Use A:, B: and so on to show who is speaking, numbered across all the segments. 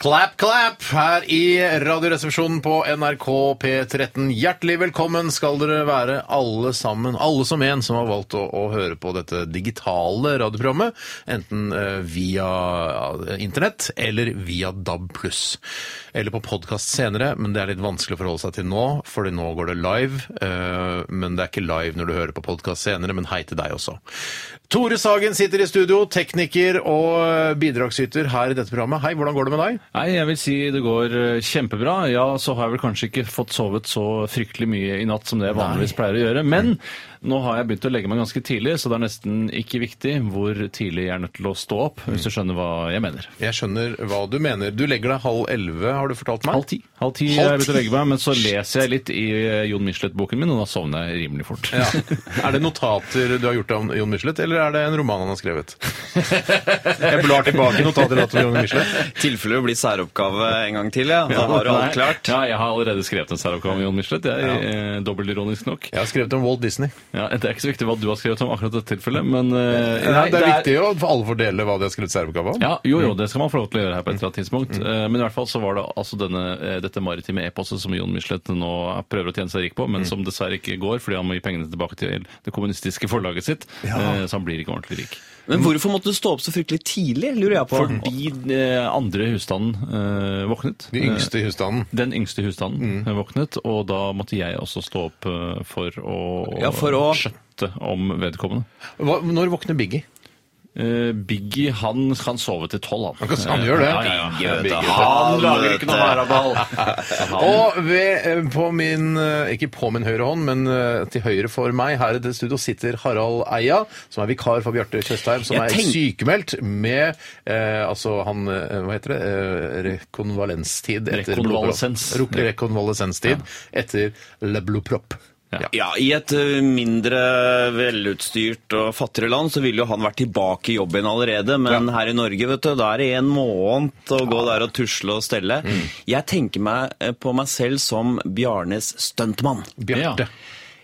A: Clap, clap her i Radioresepsjonen på NRK P13. Hjertelig velkommen skal dere være alle sammen, alle som en som har valgt å, å høre på dette digitale radioprogrammet, enten eh, via ja, internett eller via DAB+. Eller på podkast senere, men det er litt vanskelig å forholde seg til nå, fordi nå går det live. eh, Men det er ikke live når du hører på podkast senere, men hei til deg også. Tore Sagen sitter i studio, tekniker og eh, bidragsyter her i dette programmet. Hei, hvordan går det med deg?
B: Nei, jeg vil si det går eh, kjempebra. Ja, så har jeg vel kanskje ikke fått sovet så fryktelig mye i natt som det jeg vanligvis pleier å gjøre, men nå har jeg begynt å legge meg ganske tidlig, så det er nesten ikke viktig hvor tidlig jeg er nødt til å stå opp, hvis du skjønner hva jeg mener.
A: Jeg skjønner hva du mener. Du legger deg halv elleve, har du fortalt meg?
B: Halv ti. Halv ti
A: Halv
B: har jeg begynt å
A: ti?
B: legge meg, men så leser jeg litt i eh, Jon Michelet-boken min, og da sovner jeg rimelig fort.
A: Ja. Er det notater du har gjort av Jon Michelet, eller er det en roman han har skrevet? Jeg blar tilbake i notater av Jon Michelet.
C: tilfelle det blir særoppgave en gang til, ja. Da
B: Ja,
C: har du
B: nei.
C: alt klart.
B: Ja, jeg har allerede skrevet en særoppgave om Jon Michelet. Jeg, eh, Dobbeltironisk nok.
A: Jeg har skrevet om Walt Disney.
B: Ja, det er ikke så viktig hva du har skrevet om akkurat dette tilfellet, men eh,
A: Nei,
B: nei,
A: det er viktig å for alle får dele hva de har skrevet særoppgave om.
B: Ja, jo, jo, det skal man få lov til å gjøre her på et eller
A: Mm.
B: annet tidspunkt. Eh, Men i hvert fall så var det altså denne, eh, dette maritime eposet som Jon Michelet nå prøver å tjene seg rik på,
A: Mm.
B: men som dessverre ikke går fordi han må gi pengene tilbake til det kommunistiske forlaget sitt, eh, så han blir ikke ordentlig rik.
C: Men hvorfor måtte du stå opp så fryktelig tidlig, lurer jeg på.
B: Fordi eh, andre husstanden eh, våknet.
A: De yngste Mm. i husstanden.
B: Eh, Den yngste husstanden eh, våknet, og da måtte jeg også stå opp eh, for å,
C: Ja, for å-
B: skjøtte om vedkommende.
A: Hva, når våkner Biggie?
B: Eh, Biggie, han kan sove til tolv, han.
A: Han, kan, han gjør det.
B: Ja, ja, ja.
A: Biggie, vet du.
B: Han lager ikke noe haraball!
A: Og ved, eh, på min, eh, ikke på min høyre hånd, men eh, til høyre for meg her i det studio sitter Harald Eia, som er vikar for Bjarte Tjøstheim, som
C: Jeg
A: er
C: tenk-
A: sykemeldt med eh, altså han, eh, hva heter det, eh, rekonvalenstid. etter
B: Rekonvalesens.
A: blodpropp. Rok- Rekonvalesenstid etter le blodpropp.
B: Ja.
C: Ja, I et ø, mindre velutstyrt og fattigere land så ville jo han vært tilbake i jobben allerede, men her i Norge, vet du, da er det en måned å gå der og tusle og stelle.
B: Mm.
C: Jeg tenker meg ø, på meg selv som Bjarnes stuntmann.
A: Bjarte.
B: Ja.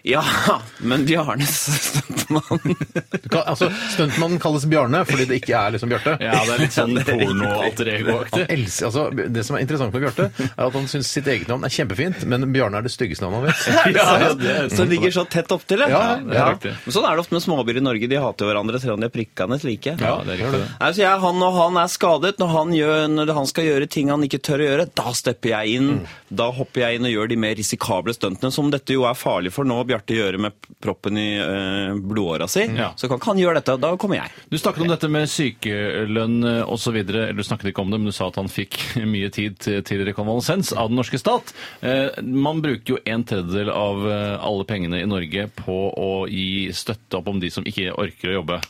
C: Ja, men Bjarnes stuntmann
A: Du kan- Altså, Stuntmannen kalles Bjarne fordi det ikke er liksom Bjarte.
B: Ja, det er litt sånn porno-alter
A: Han
B: ego-aktig.
A: elsker, altså, det som er interessant med Bjarte, er at han syns sitt eget navn er kjempefint, men Bjarne er det styggeste navnet han vet.
C: ja, som ligger så tett opptil.
A: Ja,
B: det er riktig.
C: Men Sånn er det ofte med småbyer i Norge. De hater hverandre selv om de er prikkende like.
B: Ja, det er riktig. det.
C: Nei, så jeg, han, når han er skadet, når han, gjør, når han skal gjøre ting han ikke tør å gjøre, da stepper jeg inn.
B: Mm.
C: Da hopper jeg inn og gjør de mer risikable stuntene, som dette jo er farlig for nå. Bjarte gjør det med proppen i øh, blodåra si.
B: Ja.
C: Så kan ikke han gjøre dette, og da kommer jeg.
B: Du snakket om dette med sykelønn eh, osv. Eller du snakket ikke om det, men du sa at han fikk mye tid til- til rekonvalesens av den norske stat. Eh, Man bruker jo en tredjedel av eh, alle pengene i Norge på å gi støtte opp om de som ikke orker å jobbe.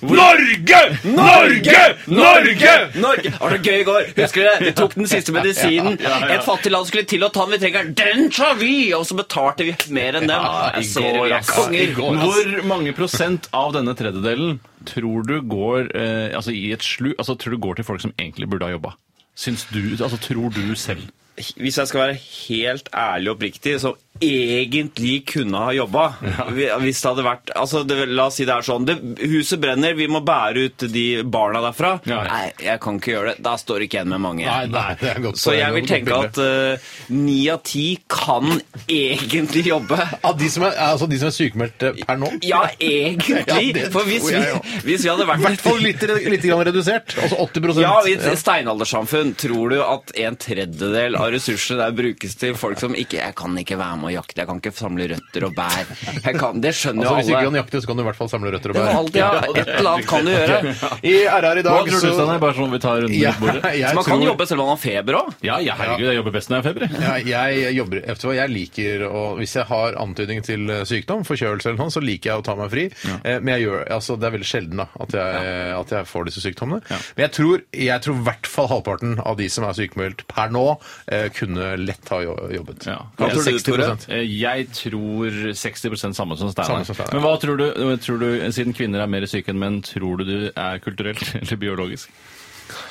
C: Norge! Norge! Norge! Norge! Var det gøy i går? Husker dere? Vi tok den siste medisinen. Et fattig land skulle til å ta den. Vi trenger den. Den tar vi! Og så betalte vi mer enn dem.
B: i
C: Jeg ser
B: går,
C: vi er
B: ass.
C: konger.
B: Hvor mange prosent av denne tredjedelen tror du går eh, altså i et slu, altså tror du går til folk som egentlig burde ha jobba? Syns du, altså tror du selv?
C: hvis jeg skal være helt ærlig og oppriktig, som egentlig kunne ha jobba Hvis det hadde vært altså det, La oss si det er sånn det, Huset brenner, vi må bære ut de barna derfra.
B: Ja.
C: Nei, jeg kan ikke gjøre det. Da står ikke igjen med mange.
A: Nei, nei, det er godt
C: Så jeg vil tenke at eh, ni av ti kan egentlig jobbe.
A: Av de som er, altså de som er sykemeldte per nå?
C: Ja, egentlig.
A: Ja, det
C: For hvis
A: tror
C: vi,
A: jeg også.
C: hvis vi hadde
A: I
C: vært
A: hvert fall litt, litt grann redusert. Altså 80
C: Ja, i et steinaldersamfunn tror du at en tredjedel av ressursene der brukes til folk som ikke Jeg kan ikke være med og jakte, jeg kan ikke samle røtter og bær. Jeg kan, det skjønner
A: Altså, hvis du ikke
C: jo
A: kan
C: alle.
A: jakte, så kan du i hvert fall samle røtter og
C: Det
A: bær.
C: var alt, ja, et eller annet kan du gjøre.
A: I RR i
B: Hva
A: dag
B: tror du, Steinar? Bare sånn vi tar runden
A: Ja,
B: rundt bordet.
A: jeg
C: Så man kan
A: tror-
C: jobbe selv om man har feber òg.
B: Ja, ja, herregud, jeg jobber best når jeg har feber. jeg.
A: Ja, jeg jobber Vet du hva, jeg liker å Hvis jeg har antydning til eh, sykdom, forkjølelse eller noe, så liker jeg å ta meg fri. Eh, Men jeg gjør Altså, det er veldig sjelden da at jeg, at jeg får disse sykdommene. Men jeg tror Jeg tror i hvert fall halvparten av de som er sykemeldt per nå, eh, kunne lett ha jo- jobbet.
B: Ja.
A: Kanskje
C: Hva tror du, Tore?
A: prosent.
B: Eh, Jeg tror 60 samme som
A: Samme
B: Steinar.
A: som Steinar.
B: Men hva tror du, eh, tror du, siden kvinner er mer syke enn menn, tror du du er kulturelt eller biologisk?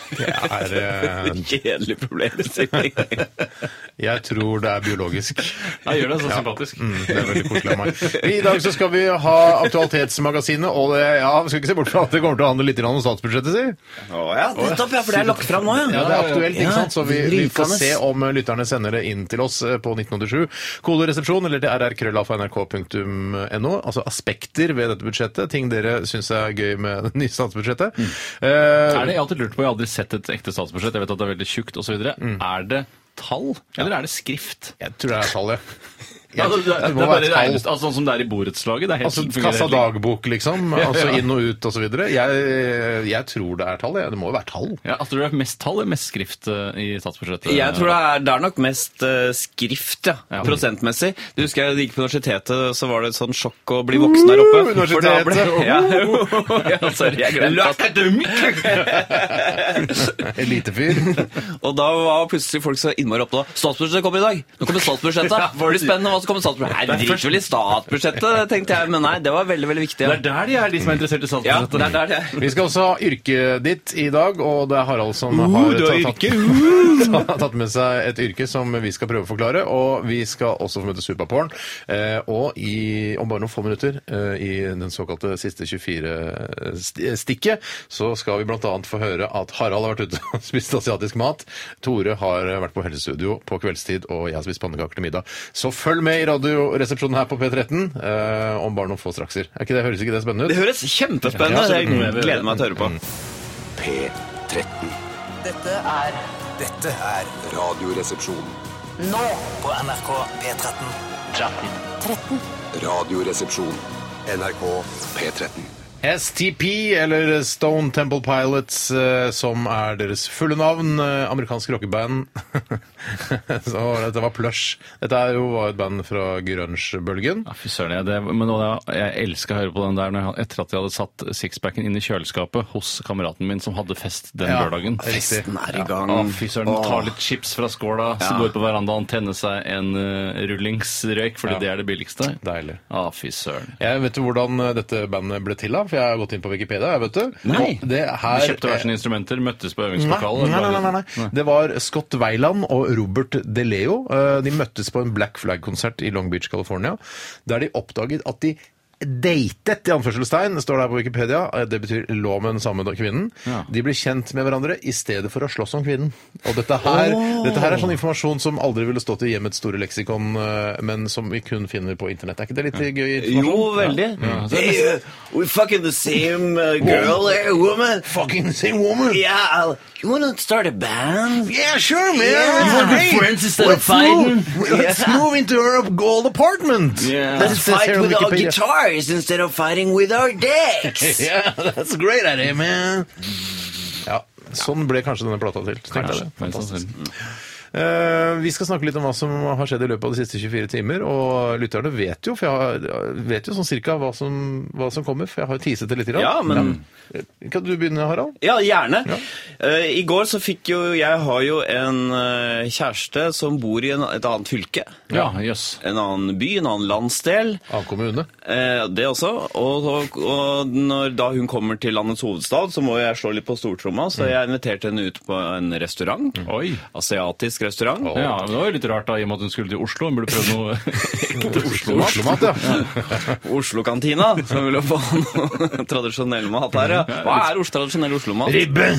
A: Det er, eh,
C: Kjedelig problemstilling.
A: jeg tror det er biologisk.
B: Jeg gjør det så sympatisk.
A: Mm, det er veldig koselig av meg. I dag så skal vi ha Aktualitetsmagasinet, og det, ja, vi skal ikke se bort fra at det kommer til å handle litt grann om statsbudsjettet, si.
C: Å ja, nettopp, ja, for det er lagt fram nå,
A: Ja, det er aktuelt, ikke
C: Ja,
A: sant? Så vi, vi får
C: rykende.
A: se om lytterne sender det inn til oss eh, på 1987. Koderesepsjon eller til rrkrøllalfa.nrk.no. Altså aspekter ved dette budsjettet. Ting dere syns er gøy med det nye statsbudsjettet. Eh,
B: Er det, jeg har alltid lurt på, jeg har aldri sett et ekte statsbudsjett, jeg vet at det er veldig tjukt osv. videre.
A: Mm.
B: Er det tall, eller er det skrift?
A: Jeg tror det er tallet.
B: Ja, Altså, det, det, det,
A: det må
B: er bare
A: være tall.
B: regnes, altså, sånn som det er i borettslaget. Det er helt
A: Altså
B: fungerer
A: kassa
B: helt likt.
A: dagbok, liksom. Altså inn og ut og så videre. Jeg, eh, jeg tror det er tall. jeg. Det må jo være tall.
B: Ja, altså, tror du det er mest tall eller mest skrift eh, i statsbudsjettet?
C: Jeg tror det er, det er nok mest eh, skrift, ja. Prosentmessig. Du husker jeg gikk på universitetet, så var det et sånn sjokk å bli voksen her oppe.
A: Uh,
C: For da ble-
A: universitetet.
C: Ja, ja, sorry, jeg glemte at-
A: Elitefyr.
C: Og da var plutselig folk så innmari opptatt av Statsbudsjettet kommer i dag! Nå kommer statsbudsjettet! Det blir spennende hva som kommer i statsbudsjettet. Nei, det driter vel i statsbudsjettet, tenkte jeg. Men nei, det var veldig, veldig viktig.
B: Det
C: Ja,
B: er der de er, de som er interessert i
C: ja
B: statsbudsjettet.
C: det er der det er.
A: Vi skal også ha yrket ditt i dag, og det er Harald som har
C: du har
A: tatt, tatt, tatt med seg et yrke som vi skal prøve å forklare. Og vi skal også få møte Supaporn. Eh, og i, om bare noen få minutter, eh, i den såkalte siste 24-stikket, så skal vi bl.a. få høre at Harald har vært ute og spist asiatisk mat. Tore har vært på helsestudio på kveldstid, og jeg har spist pannekaker til middag. Så følg med i Radioresepsjonen her på P13 eh, om bare noen få strakser. Er ikke det, høres ikke det spennende ut?
C: Det høres
A: Ja,
C: kjempespennende ut!
A: så-
C: Jeg gleder meg til å høre på.
B: Mm.
D: P13.
E: Dette er
D: Dette er Radioresepsjon.
E: nå på NRK P13.
D: Radioresepsjon. NRK P13.
A: STP, eller Stone Temple Pilots, eh, som er deres fulle navn. eh, Amerikansk rockeband. Så dette var Plush. Dette er jo, var et band fra grunge-bølgen.
B: Ja, Fy søren, jeg, det, men nå, jeg elsker å høre på den der når jeg, etter at jeg hadde satt sixpacken inn i kjøleskapet hos kameraten min som hadde fest den
A: Ja,
B: lørdagen.
A: riktig.
C: Festen er i gang.
B: Å, fy søren. Ta litt chips fra skåla, så gå ut på verandaen, tenne seg en eh, rullingsrøyk, fordi
A: Ja.
B: det er det billigste.
A: Deilig.
B: Å, fy søren.
A: Jeg vet du hvordan eh, dette bandet ble til av, for jeg har gått inn på Wikipedia. jeg vet du.
C: Nei.
A: Og Det
B: De
A: her,
B: kjøpte hver sine instrumenter, møttes på
A: Nei,
B: øvingslokalet.
A: nei, nei, nei, nei. Det var Scott Weiland og Robert DeLeo. Eh, De møttes på en Black Flag-konsert i Long Beach, California, der de oppdaget at de datet, i anførselstegn, står det her på Wikipedia. Eh, Det betyr lå med den samme da- kvinnen.
B: Ja.
A: De ble kjent med hverandre i stedet for å slåss om kvinnen. Og dette her, dette her er sånn informasjon som aldri ville stått i hjemmets store leksikon, eh, men som vi kun finner på internett. Er ikke det litt gøy informasjon?
C: Jo, veldig. Hey, uh, we fucking the same uh, girl, uh, woman.
A: Fucking same woman!
C: Yeah, I'll- you wanna start a band?
A: Yeah, sure, man.
C: Yeah.
A: It's
C: You wanna be
A: great.
C: friends instead
A: Let's
C: of fighting?
A: Move, let's
C: Yeah.
A: move into our old apartment.
B: Yeah.
A: That's
C: Let's fight with our guitars instead of fighting with our dicks.
A: Yeah, that's a great idea, man. Ja, sånn ble kanskje denne plata til. tenkte jeg
B: Kanskje.
A: det. Fantastisk. Eh, vi skal snakke litt om hva som har skjedd i løpet av de siste 24 timer. Og lytterne vet jo for jeg har, jeg vet jo sånn cirka hva som, hva som kommer, for jeg har jo teaset det litt. i dag.
C: Ja, men-
A: Ja. Kan du begynne, Harald?
C: Ja, gjerne.
A: Ja.
C: Eh, I går så fikk jo Jeg har jo en eh, kjæreste som bor i en, et annet fylke.
B: Ja, jøss.
C: En annen by, en annen landsdel.
A: Av kommune.
C: Eh, det også. Og, og, og når da hun kommer til landets hovedstad, så må jeg slå litt på stortromma, så jeg inviterte henne ut på en restaurant.
B: Oi.
C: Asiatisk restaurant.
B: Ja, men det var jo litt rart da, i og med at hun skulle til Oslo. Hun burde prøvd noe
C: sånn
B: ekte Oslo-mat.
A: Oslomat, ja.
C: Oslo-kantina, som vil jo få noe tradisjonell mat her. Ja. Hva er Oslo, tradisjonell Oslo-mat?
A: Ribbe!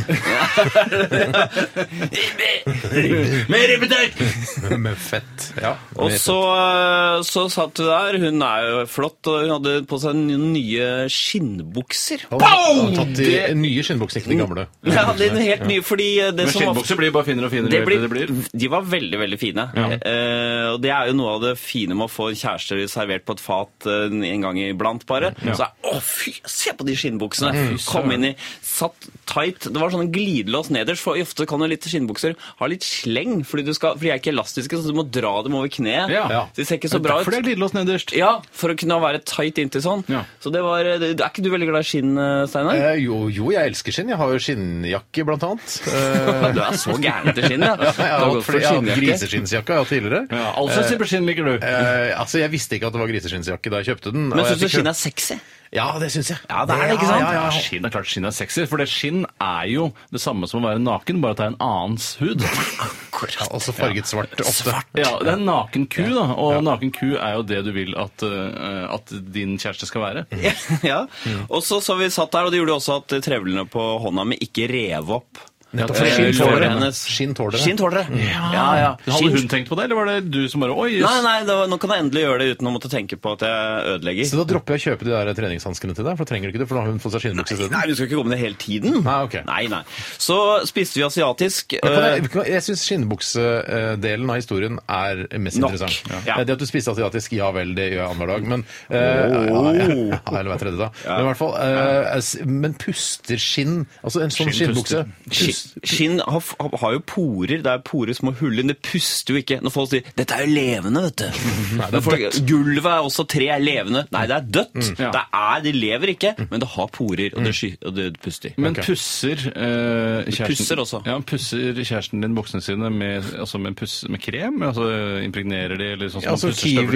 C: Med ribbedeig!
A: Med fett. Ja.
C: Og så, eh, så satt hun der. Hun er jo flott, og hun hadde på seg n- nye skinnbukser.
A: Og- og Tatt de nye skinnbuksene, ikke de gamle.
C: Jeg hadde en helt nye, fordi eh, det
B: Men
C: som var
B: skinnbukser blir bare finere og finere.
C: det
B: jo
C: blir,
B: eldre det blir.
C: De var veldig, veldig fine. Eh, og det er jo noe av det fine med å få en kjæreste servert på et fat eh, en gang iblant, bare. Så er Å, fy! Se på de skinnbuksene! Kom inn i Satt tight. Det var sånn glidelås nederst, for ofte kan jo litt skinnbukser ha litt sleng, fordi, du skal, for de er ikke elastiske, så du må dra dem over kneet.
B: Ja.
C: Så de ser ikke så bra
B: Derfor det
C: ut.
B: er glidelås nederst.
C: Ja, for å kunne være tight inntil sånn.
B: Ja.
C: Så det var eh, det- Er ikke du veldig glad i skinn, eh, Steinar?
A: Eh, Jo, jo, jeg elsker skinn. Jeg har jo skinnjakke, blant annet. Eh,
C: Du er så gæren etter skinn, ja.
A: ja,
C: Da må
A: godt, fordi jeg har hatt
C: skinnjakke.
A: griseskinnsjakke jeg har hatt tidligere.
B: Ja, altså- All slags type skinn liker du.
A: Eh, altså, Jeg visste ikke at det var griseskinnsjakke da jeg kjøpte den.
C: Men
A: og jeg
C: syns du
A: fikk
C: skinn
A: kjøpt-
C: er sexy?
A: Ja, det syns jeg.
C: Ja, det er det, ikke sant?
A: Ja, ja, ja.
B: Skinn er klart skinn er sexy, for det skinn er jo det samme som å være naken, bare at det er en annens hud.
A: Ja, Også farget svart ofte.
B: Ja, det er en naken ku, da. Og naken ku er jo det du vil at, eh, at din kjæreste skal være.
C: Eh, ja.
A: Mm.
C: Og så så vi satt der, og det gjorde også at trevlene på hånda mi ikke rev opp.
A: Nettopp.
B: det er
A: Skinn
B: låret
A: tåler det.
C: hennes.
A: eh, Skinn tåler det. Mm.
C: Skinn tåler det. Ja, ja.
B: Hadde
C: Skinn-
B: hun tenkt på det, eller var det du som bare Oi, jøss.
C: Nei, nei, det var, nå kan jeg endelig gjøre det uten å måtte tenke på at jeg ødelegger.
A: Så da dropper jeg å kjøpe de der treningshanskene til deg, for da trenger du ikke det, for da har hun fått seg skinnbukse isteden.
C: Nei, du skal ikke gå med det hele tiden.
A: Nei, ok.
C: nei, nei. Så spiste vi asiatisk.
A: Men kan
C: eh,
A: Jeg, kan- jeg syns skinnbuksedelen av historien er mest
C: Nok.
A: interessant.
C: Ja.
A: Det at du spiste asiatisk, ja vel, det gjør jeg annenhver dag, men eh,
C: Oh.
A: ja, ja, ja, Eller hver tredje, da. Men i hvert fall eh, s- Men puster skinn Altså en sånn skinnbukse
B: Skinnpuster.
A: pust-
C: Skinn skinn har, f- har- har jo porer. Det er porer, små hull. men Det puster jo ikke. Når folk sier 'dette er jo levende', vet du.
A: Nei, det
C: Når
A: er
C: folk,
A: dødt. Mm.
C: gulvet er også tre er levende. Nei, det er dødt.
B: Ja.
C: Det er, det lever ikke, men det har porer, og det, sky, og det puster.
B: Men
A: Ok.
B: pusser eh, kjæresten
C: pusser også.
B: Ja, pusser kjæresten din buksene sine med, altså med, puss, med krem? Altså Impregnerer de, eller sånn
A: Ja,
B: som man
A: altså
B: pusser støvler?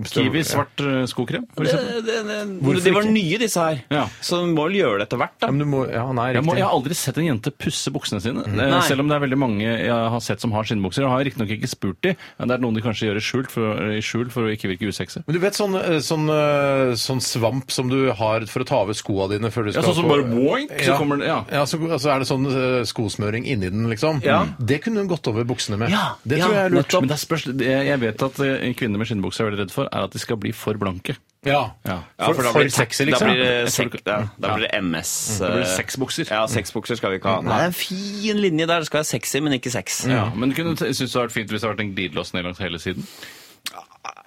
A: kiwi- støvler,
B: Kiwi
A: ja.
B: svart eh, skokrem, for
C: det,
B: eksempel?
C: det, det,
A: Hvorfor
C: de var
A: ikke?
C: nye, disse her.
B: Ja.
C: Så vi må vel gjøre det etter hvert,
A: Ja,
C: da.
A: men du må, ja, nei,
B: Jeg, må,
A: riktig.
B: jeg har aldri sett en jente pusse buksene sine. Eh,
C: Nei.
B: Selv om det er veldig mange jeg har sett som har skinnbukser. Jeg har riktignok ikke spurt de, men det er noen de kanskje gjør i skjul for, i skjul for å ikke virke usexy.
A: Men du vet sånn, eh, sånn, eh, sånn svamp som du har for å ta av skoa dine før du skal
B: sånn som
A: på-
B: bare boink, så kommer den- ja.
A: så, så er det sånn eh, skosmøring inni den, liksom.
C: Ja.
A: Det kunne hun gått over buksene med.
C: Ja,
A: det
C: ja,
A: tror jeg er lurt.
C: nettopp.
B: Men det er spørs, det- jeg vet at eh, kvinner med skinnbukser er veldig redd for, er at de skal bli for blanke.
A: Ja.
B: Ja.
C: Ja,
A: For, for,
C: da blir det-
A: sexy, liksom.
C: Da blir det, sek, da, da blir det MS. Da
B: blir det sexbukser.
C: Ja, sexbukser skal vi ikke
A: Mm.
C: ha. Nei, det er en fin linje der. Det skal være sexy, men ikke sex.
B: Ja, men kunne du synes det hadde vært fint hvis det hadde vært en glidelås ned langs hele siden?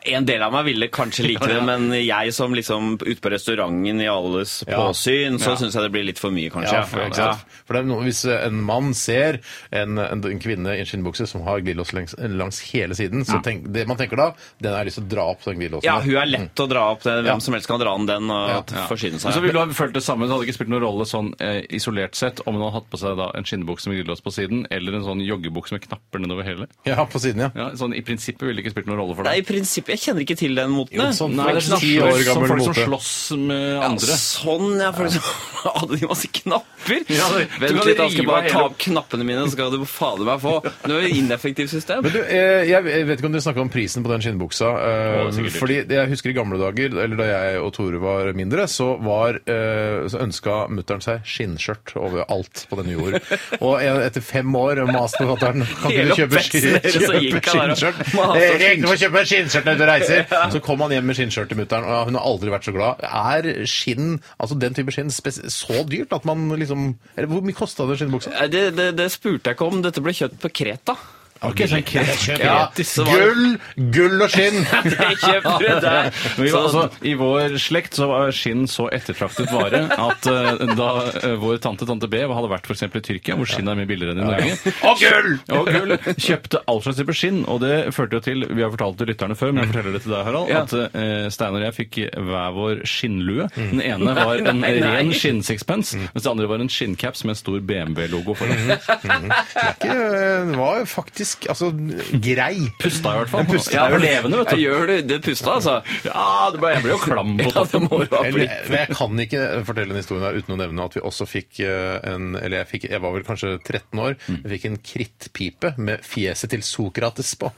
C: En del av meg ville kanskje like det, men jeg som liksom ute på restauranten i alles påsyn, så synes syns jeg det blir litt for mye, kanskje.
A: Ja, for, ikke sant? for det er noe, Hvis en mann ser en, en, en kvinne i en skinnbukse som har glidelås langs, langs hele siden, så tenk, det man tenker da, den har jeg lyst til å dra opp den glidelåsen.
C: Ja,
A: der.
C: hun er lett å dra opp. Den. Hvem som helst kan dra an den og
A: Ja.
C: forsyne
B: Men
C: seg.
B: så ville du ha følt det samme, det hadde ikke spilt noen rolle sånn eh, isolert sett om hun hadde hatt på seg da en skinnbukse med glidelås på siden, eller en sånn joggebukse med knapper nedover hele.
A: ja, på siden, ja.
B: Ja, sånn I prinsippet ville det ikke spilt noen rolle for
C: Nei,
B: deg.
C: i prinsippet, Jeg kjenner ikke til den moten. jeg.
A: sånn
B: Nei, det er sånn
A: ti år
B: slåss- som
A: gammel
B: folk som
A: mote.
B: slåss med andre.
C: Sånn, ja. For liksom hadde de masse knapper?
B: Ja, det- du
C: Vent
B: kan
C: litt, jeg
B: rive
C: skal
B: av
C: bare ta
B: hele-
C: opp knappene mine, så skal du fader meg få. Det var jo ineffektivt system.
A: Men du, eh, jeg jeg vet ikke om dere snakka om prisen på den skinnbuksa. eh,
B: Å, det er sikkert dyrt.
A: fordi jeg husker i gamle dager, eller da jeg og Tore var mindre, så, var, eh, så ønska mutter'n seg skinnskjørt over alt på denne jord. Og jeg, etter fem år maste fatter'n kan ikke
C: Hele
A: du kjøpe
C: oppveksten
A: skin-
C: deres, så gikk
A: kjøpe
C: han der og
A: skinnskjørt. Eh,
C: maste
A: Det er ikke noe å kjøpe skinnskjørt når du reiser. Så kom han hjem med skinnskjørt til mutter'n, og hun har aldri vært så glad. Er skinn, altså den type skinn, spes- så dyrt at man liksom Eller hvor mye kosta den skinnbuksa?
C: Nei, Det, det, det spurte jeg ikke om. Dette ble kjøpt på Kreta.
B: Ok, sånn kjøp-
C: Ja,
B: disse var-
A: Gull, gull og skinn!
C: Det kjøpte du der.
B: Men vi,
C: Så-
B: var- altså, I vår slekt så var skinn så ettertraktet vare at eh, da eh, vår tante tante B hadde vært for eksempel i Tyrkia, hvor skinn er mye billigere enn i Norge
C: Og gull!
B: og gull, kjøpte all slags type skinn, og det førte jo til Vi har fortalt det til lytterne før, men jeg forteller det til deg, Harald,
C: Ja.
B: at eh, Steinar og jeg fikk hver vår skinnlue. Den ene var en
C: Nei, nei.
B: ren skinnsixpence, mens den andre var en skinncaps med en stor BMW-logo foran.
A: ikke, den var faktisk altså, grei.
B: Pusta i hvert fall.
A: Den pusta.
B: Ja, for levende,
C: Ja,
B: vet du.
C: gjør du det pusta, altså? Ja, det ble,
B: Jeg ble jo klam på
C: Ja, det
B: toppen.
C: må du ha
A: Eller,
C: blitt.
A: men jeg kan ikke fortelle den historien her uten å nevne at vi også fikk eh, en Eller jeg fikk, jeg var vel kanskje 13 år.
C: Mm.
A: Jeg fikk en krittpipe med fjeset til Sokrates på.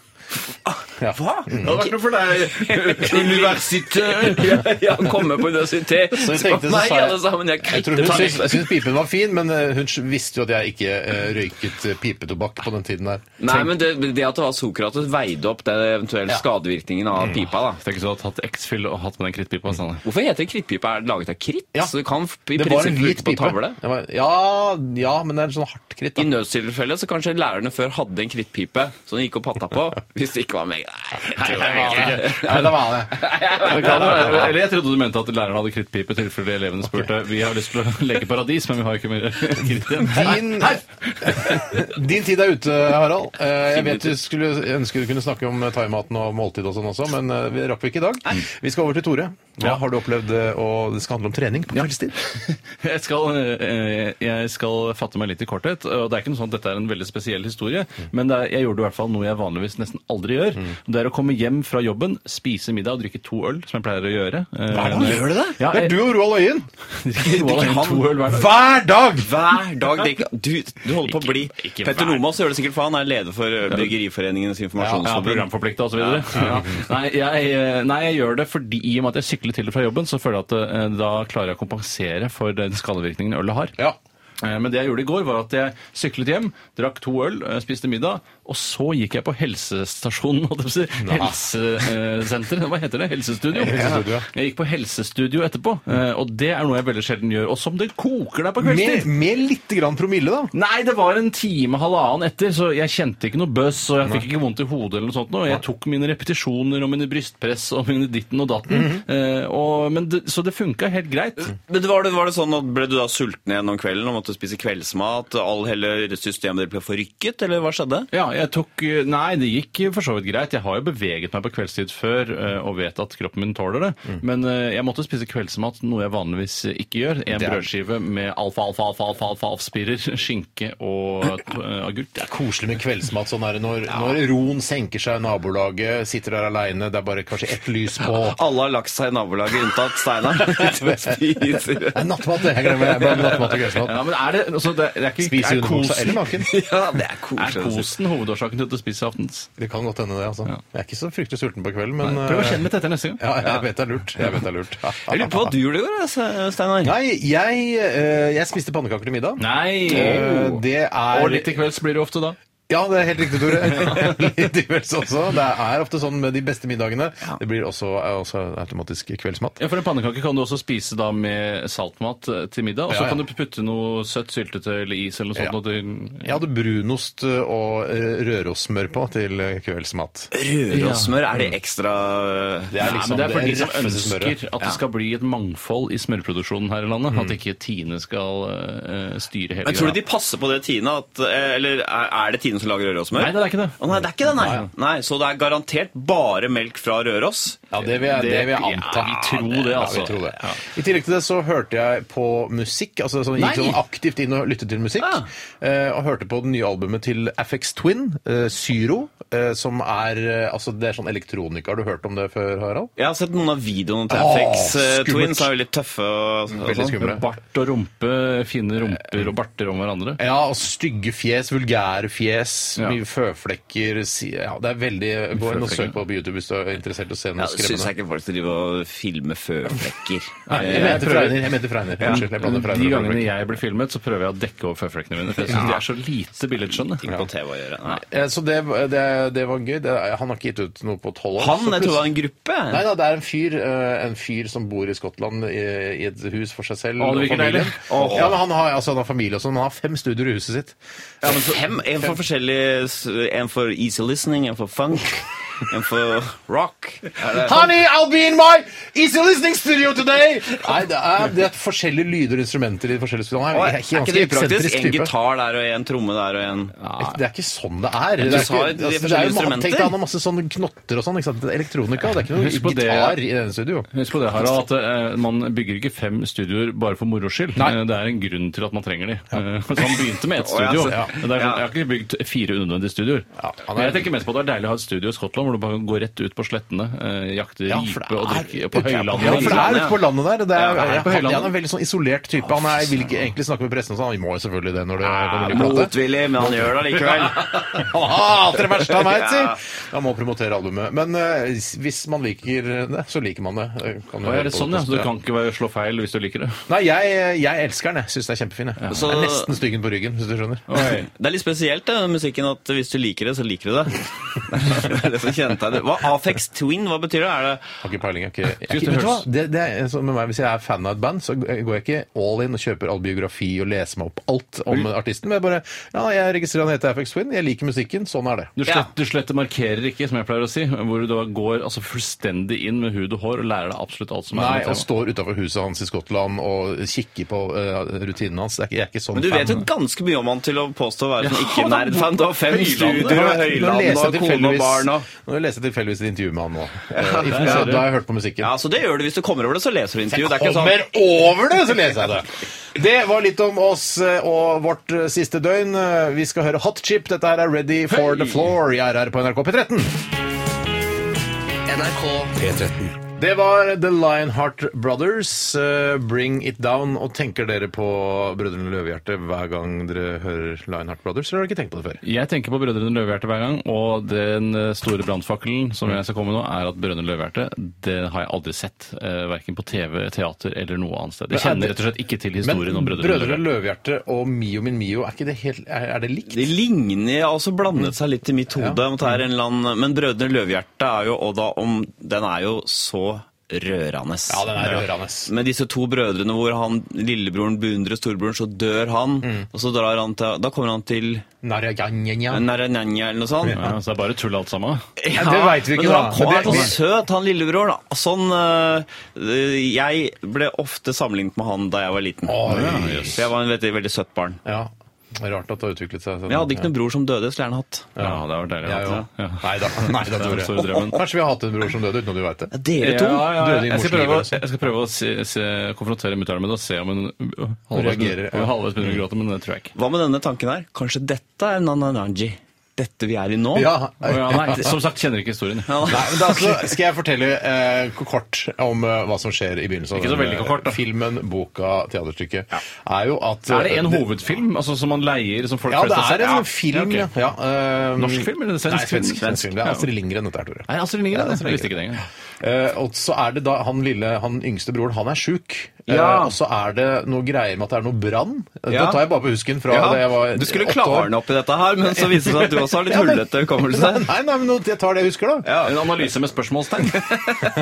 C: Ah,
A: Ja.
B: Det hadde vært noe for deg, universitet!
C: Ja, ja, komme på universitet.
A: Så jeg tenkte, så
C: Nei,
A: sa jeg-
C: alle sammen, jeg
A: Jeg, tror hun
C: kvitter
A: syntes,
C: meg.
A: jeg syntes pipen var fin, men eh, hun visste jo at jeg ikke eh, røyket eh, pipetobakk på den tiden der.
C: Nei, men det, det at det var Sokrates, veide opp den eventuelle
A: Ja. Mm.
C: skadevirkningen av pipa, da.
B: Tenk hvis du hadde hatt X-fill og hatt med den krittpipa. Sånn.
C: Hvorfor heter krittpipa? Er det laget av kritt?
A: Ja.
C: Så du kan f- i
A: Det var en
C: prinsippet
A: hvit
C: bruke på
A: pipe.
C: tavle.
A: Det var, ja, ja, men det er en sånn hardt kritt.
C: I
A: Da.
C: nødstilfelle så kanskje lærerne før hadde en krittpipe som de gikk og patta på hvis det ikke var meg. Nei, jeg tror det ikke.
A: Nei, det var det.
B: Det kan være- Eller jeg trodde du mente at læreren hadde krittpipe i tilfelle elevene spurte. Vi har lyst til å leke paradis, men vi har ikke mer kritt igjen.
A: Din, din tid er ute, Harald. Eh, Jeg vet du eh, skulle ønske du kunne snakke om thaimaten og måltid og sånn også, men eh, vi rakk vi ikke i dag. Vi skal over til Tore. Hva har du opplevd eh, å Det skal handle om trening på kveldstid.
B: Jeg skal, eh, jeg skal fatte meg litt i korthet. og Det er ikke noe sånn at dette er en veldig spesiell historie,
A: Mm.
B: men det er, jeg gjorde i hvert fall noe jeg vanligvis nesten aldri gjør. Det er å komme hjem fra jobben, spise middag og drikke to øl, som jeg pleier å gjøre. Eh,
A: Gjør du det?
B: Ja,
A: det er
B: jeg-
A: du og Roald Øyen.
B: drikker to øl- to øl hver dag.
A: Hver dag!
C: Hver dag drikker Du, du holder på å bli
B: Ikke- ikke
C: Petter
B: hver-
C: Nomas gjør det sikkert, for han er leder for ø, Bryggeriforeningens
B: Ja,
C: informasjonsforbund.
B: programforplikta osv. Ja. Nei, jeg- eh, nei, jeg gjør det fordi i og med at jeg sykler til og fra jobben, så føler jeg at eh, da klarer jeg å kompensere for den skadevirkningen ølet har.
A: Ja.
B: Eh, Men det jeg gjorde i går, var at jeg syklet hjem, drakk to øl, eh, spiste middag, og så gikk jeg på helsestasjonen, holdt jeg på å si. Helsesenter. Hva heter det? Helsestudio.
A: Helsestudio, ja.
B: Jeg gikk på helsestudio etterpå, eh, og det er noe jeg veldig sjelden gjør. Og som det koker deg på
A: Med,
B: kveldstid!
A: med lite grann promille, da.
B: Nei, det var en time, halvannen etter, så jeg kjente ikke noe bøss, og jeg fikk ikke vondt i hodet eller noe sånt. Og jeg tok mine repetisjoner og mine brystpress og mine ditten og datten.
A: Mhm.
B: eh, og, men det, så det funka helt greit.
A: Mm.
C: Men var det, var det sånn at Ble du da sulten igjen om kvelden og måtte spise kveldsmat? All hele systemet ditt ble forrykket, eller hva skjedde?
B: Ja, jeg tok eh, Nei, det gikk for så vidt greit. Jeg har jo beveget meg på kveldstid før eh, og vet at kroppen min tåler det. Men eh, jeg måtte spise kveldsmat, noe jeg vanligvis ikke gjør. En brødskive med alfa-alfa-alfa-alfa-alfa-spirer, skinke og eh, agurk. Det er koselig.
A: Koselig med kveldsmat. sånn er det når, når roen senker seg, nabolaget sitter der aleine, det er bare kanskje ett lys på
C: Alle har lagt seg i nabolaget unntatt Steinar. Spiser.
A: Nei, nattmat! det. Jeg glemmer det. Jeg blander nattmat og kveldsmat.
B: Ja, men er det, altså, det, det er ikke
A: Spise
B: er
A: underbuksa
B: kosen-
A: eller naken.
C: Ja, det er
B: Er
C: koselig. altså. å si.
B: kosen hovedårsaken til at du spiser aftens?
A: Det kan godt hende, det. altså. Jeg er ikke så fryktelig sulten på kvelden, men
B: Prøv å
A: eh,
B: kjenne litt etter neste gang.
A: Ja, jeg vet det er lurt. Jeg vet det er lurt.
C: Jeg lurer på hva du gjorde i går, jeg, Steinar.
A: Nei, jeg, eh, jeg spiste pannekaker til middag.
B: Nei!
A: Eh, Det er
B: Og litt til kvelds blir det ofte da.
A: Ja, det er helt riktig, Tore. Litt diverse også. Det er ofte sånn med de beste middagene. Det blir også, er også automatisk kveldsmat.
B: Ja, for En pannekake kan du også spise da med saltmat eh, til middag. Og så
A: Ja, ja.
B: kan du putte noe søtt syltetøy eller is eller noe sånt.
A: Ja.
B: og det-
A: Jeg hadde brunost og eh, rørosmør på til eh, kveldsmat.
C: Rørosmør, er det ekstra eh,
A: Det er
B: Nei,
A: liksom
B: men det er for de
A: det
B: som
A: raffeste
B: ønsker
A: smøret.
B: at det skal bli et mangfold i smørproduksjonen her i landet.
A: Mm.
B: At ikke Tine skal eh, styre hele
C: Men tror du de passer på det, Tine? At, eh, eller er er det Tine som lager rørosmør?
B: Nei, det er ikke det.
C: Å, nei, det er ikke det, nei. nei. Så det er garantert bare melk fra Røros?
A: Ja, det vil jeg, det, vil jeg
B: Ja,
A: anta.
B: vi tror det, altså.
A: Ja, vi tror det. I tillegg til det så hørte jeg på musikk. altså sånn, Gikk
B: Nei!
A: sånn aktivt inn og lyttet til musikk.
C: Ah.
A: eh, Og hørte på det nye albumet til FX Twin, eh, Syro, eh, som er eh, altså det er sånn elektronika. Har du hørt om det før, Harald?
C: Jeg har sett noen av videoene til
A: Åh,
C: FX eh,
A: skummelt.
C: Twins. som er veldig tøffe. Og, og
A: Veldig
C: sånn.
A: skumle.
B: Bart og rumpe, fine rumper og barter om hverandre.
A: Ja, og stygge fjes, vulgære fjes,
B: Ja.
A: mye føflekker si- ja, Det er veldig Gå inn og
B: Føflekker.
A: søk på på YouTube hvis du er interessert i å se noe
C: Ja, det syns
A: skremmende.
C: jeg ikke folk skal drive og filme føflekker.
A: Jeg
B: jeg
A: mente
B: prøver-
A: Freyner. Jeg mente Freyner. Unnskyld, jeg blander
B: De
A: Freyner og
B: gangene
A: Føflekker.
B: jeg blir filmet, så prøver jeg å dekke over føflekkene mine. For jeg syns de er så lite billedskjønne.
C: Ikke på TV å gjøre. Nei.
A: Eh, Så det, det, det var gøy. Det, han har ikke gitt ut noe på tolv år.
C: Han,
A: så
C: jeg tror det var en gruppe.
A: Nei da, det er en fyr, eh, en fyr som bor i Skottland i, i et hus for seg selv.
B: Å, det
A: og
B: virker
A: familien.
B: deilig.
A: Ja, men han har, altså, han har familie og sånn. Han har fem studioer i huset sitt.
C: Ja, men så, fem, en for forskjellig s- En for easy listening, en for funk, en for rock.
A: Honey, I'll be in my easy listening studio today! Nei, det er, det er forskjellige lyder og instrumenter i de forskjellige studioene.
C: Og
A: Han
C: er
A: er,
C: ikke
A: ganske
C: det upraktisk?
A: eksentrisk
C: En
A: type.
C: gitar der og en tromme der og en
A: Det er ikke sånn det er. Det er,
C: sa
A: ikke,
C: jo
A: altså,
C: de
A: det er jo, ma-
C: forskjellige
A: Tenk deg, han
C: instrumenter.
A: har masse sånne knotter og sånn. ikke sant? Det er Elektronika. Det er ikke
B: Husk på
A: noe
B: det-
A: gitar i denne studio.
B: Husk på det, Harald, at eh, man bygger ikke fem studioer bare for moro skyld.
A: Nei.
B: Eh, Det er en grunn til at man trenger de. Eh, Så han begynte med ett studio.
C: Å, ja,
B: Det er sånn, jeg har ikke bygd fire unødvendige studioer.
A: Ja, han er-
B: Men jeg tenker mest på at det er deilig å ha et studio i Skottland hvor du bare kan gå rett ut på slettene, eh, jakte
A: Ja, for det
B: ripe og
A: er-
B: drikke på høylandet.
A: Ja, for det er
C: Innlandet,
A: ute på landet der. og Det er,
B: Ja, det er på
A: han,
B: Høylandet.
A: han er en veldig sånn isolert type. Han er, vil ikke egentlig snakke med pressen og sånn. Han må jo selvfølgelig det når det kommer i plate.
C: Motvillig, men han gjør det likevel.
A: Han hater det verste han veit,
C: Ja.
A: sier! Han må promotere albumet. Men eh, hvis man liker det, så liker man det. Eh, Kan
B: Å,
A: jo høre
B: er det
A: på
B: sånn, ja?
A: podkast,
B: Så du kan ikke være- slå feil hvis du liker det?
A: Nei, jeg, jeg elsker den. Jeg syns den er kjempefin. Jeg.
C: Så-
A: jeg er nesten styggen på ryggen, hvis du skjønner.
C: Det er litt spesielt det, med musikken at hvis du liker det, så liker du det. det er det som kjennetegner Hva Afex Twin, hva betyr det? Er det
A: Har ikke peiling. Jeg, er ikke, jeg, er
B: Synes det
A: ikke, vet du hva?
B: høres-
A: Det, det er sånn med meg, Hvis jeg er fan av et band, så går jeg ikke all in og kjøper all biografi og leser meg opp alt om artisten. Men jeg bare Ja, jeg registrerer han heter FX Twin. Jeg liker musikken. Sånn er det.
B: Du slett, du slett markerer ikke, som jeg pleier å si, hvor du da går altså, fullstendig inn med hud og hår og lærer deg absolutt alt som er
A: Nei,
B: med
A: og
B: temaet.
A: sånn står utafor huset hans i Skottland og kikker på eh, rutinene hans. Det er ikke, jeg er ikke sånn
C: Men du vet jo
A: fan.
C: ganske mye om han til å påstå å være
B: Ja,
C: sånn
B: han har
C: ikke-nerdfan. Du har fem
B: Høylandet.
C: studier og
A: Nå
C: Høyland
A: leser jeg
C: og kone og
A: tilfeldigvis-
C: barn og
A: Nå leste jeg tilfeldigvis et intervju med han nå. Eh, i forbindelse- Da har jeg hørt på musikken.
C: Ja, så det gjør du. Hvis du kommer over det, så leser du intervju. Det er ikke sånn
A: Kommer over det, så leser jeg det! Det var litt om oss eh, og vårt eh, siste døgn. Eh, Vi skal høre Hot Chip. Dette her er Ready for the Floor i RR på NRK P13.
F: NRK
D: P13.
A: Det var The Lionheart Brothers, eh, Bring It Down. Og tenker dere på Brødrene Løvehjerte hver gang dere hører Lionheart Brothers, eller har dere ikke tenkt på det før?
B: Jeg tenker på Brødrene Løvehjerte hver gang, og den eh, store brannfakkelen som
A: Mm.
B: jeg skal komme med nå, er at Brødrene Løvehjerte det har jeg aldri sett, eh, verken på TV, teater eller noe annet sted. Jeg
A: Men er det-
B: kjenner rett og slett ikke til
A: Men
B: historien om Brødrene
A: Brødrene
B: Løvehjerte.
A: Løvehjerte og Mio min Mio, er, ikke det helt, er, er det likt?
C: Det ligner Jeg har også blandet seg litt i mitt hode. om det er en eller annen, men Brødrene Løvhjerte er jo og da om, Den er jo så rørende.
A: Ja, den er rørende.
C: Med disse to brødrene hvor han, lillebroren beundrer storebroren, så dør han.
A: Mm.
C: Og så drar han til, da kommer han til
A: Narajanjanja.
C: Naranjanja eller noe sånt.
B: Ja, så det er bare tull alt sammen.
A: Ja, det vet vi ikke,
C: men
A: da.
C: Han kom,
A: Men
C: er
A: det-
C: så søt, han lillebroren. da. Sånn, øh, jeg ble ofte sammenlignet med han da jeg var liten. Mm.
A: Oi.
C: For jeg var en veldig, veldig søtt barn.
A: Ja. Det er Rart at det har utviklet seg sånn.
C: Men jeg hadde ikke noen bror som døde, skulle gjerne hatt.
B: Ja, det var deilig.
A: Ja,
B: å
A: jo.
B: ha det. Ja.
A: Nei da, nei, da
B: Det er den
A: Tore.
B: store drømmen.
A: Kanskje vi har hatt en bror som døde uten at du veit det.
C: Ja, Dere to?
B: Ja, ja, ja.
A: Døde i
B: Jeg skal
A: morslivet,
B: prøve, å-
A: altså.
B: jeg skal prøve å se, se, konfrontere mutter'n med det og se om hun halvveis
A: reagerer, ja.
B: begynner halvveis begynner å gråte, men det tror jeg ikke.
C: Hva med denne tanken her? Kanskje dette er Nanananji? Dette vi er i nå?
A: Ja.
B: Å, ja, nei, som sagt, kjenner ikke historien. jeg.
C: Ja,
A: Nei, men da altså, skal jeg fortelle eh, kort om eh, hva som skjer i begynnelsen av
B: Ikke så
A: den,
B: veldig
A: eh,
B: kort, da.
A: filmen, boka, teaterstykket. Er jo at
B: Er det en
A: eh,
B: hovedfilm altså, som man leier? som folk
A: Ja,
B: flest
A: det
B: har
A: er
B: sett?
A: en
B: Ja,
A: film.
B: ja,
A: Ja,
B: ok.
A: eh,
B: Norsk film, eller svensk
A: Nei, svensk,
B: film?
A: svensk film. Det
B: Ja.
A: er Astrid Lindgren, dette her, Tore.
B: Er altså, det Astrid Lindgren?
A: Ja, det er
B: det? Jeg visste ikke det engang.
A: Eh, og så er det da han lille, han yngste broren, han er sjuk. Eh,
C: Ja.
A: og så er det noe greier med at det er noe brann.
C: Ja.
A: Det tar jeg bare på husken fra da jeg var
C: du skulle
A: åtte år.
C: klarne opp i dette her, men så viser det seg at du også har litt hullete hukommelse.
A: Nei, nei, men nå- jeg tar det jeg husker, da.
B: En analyse med spørsmålstegn.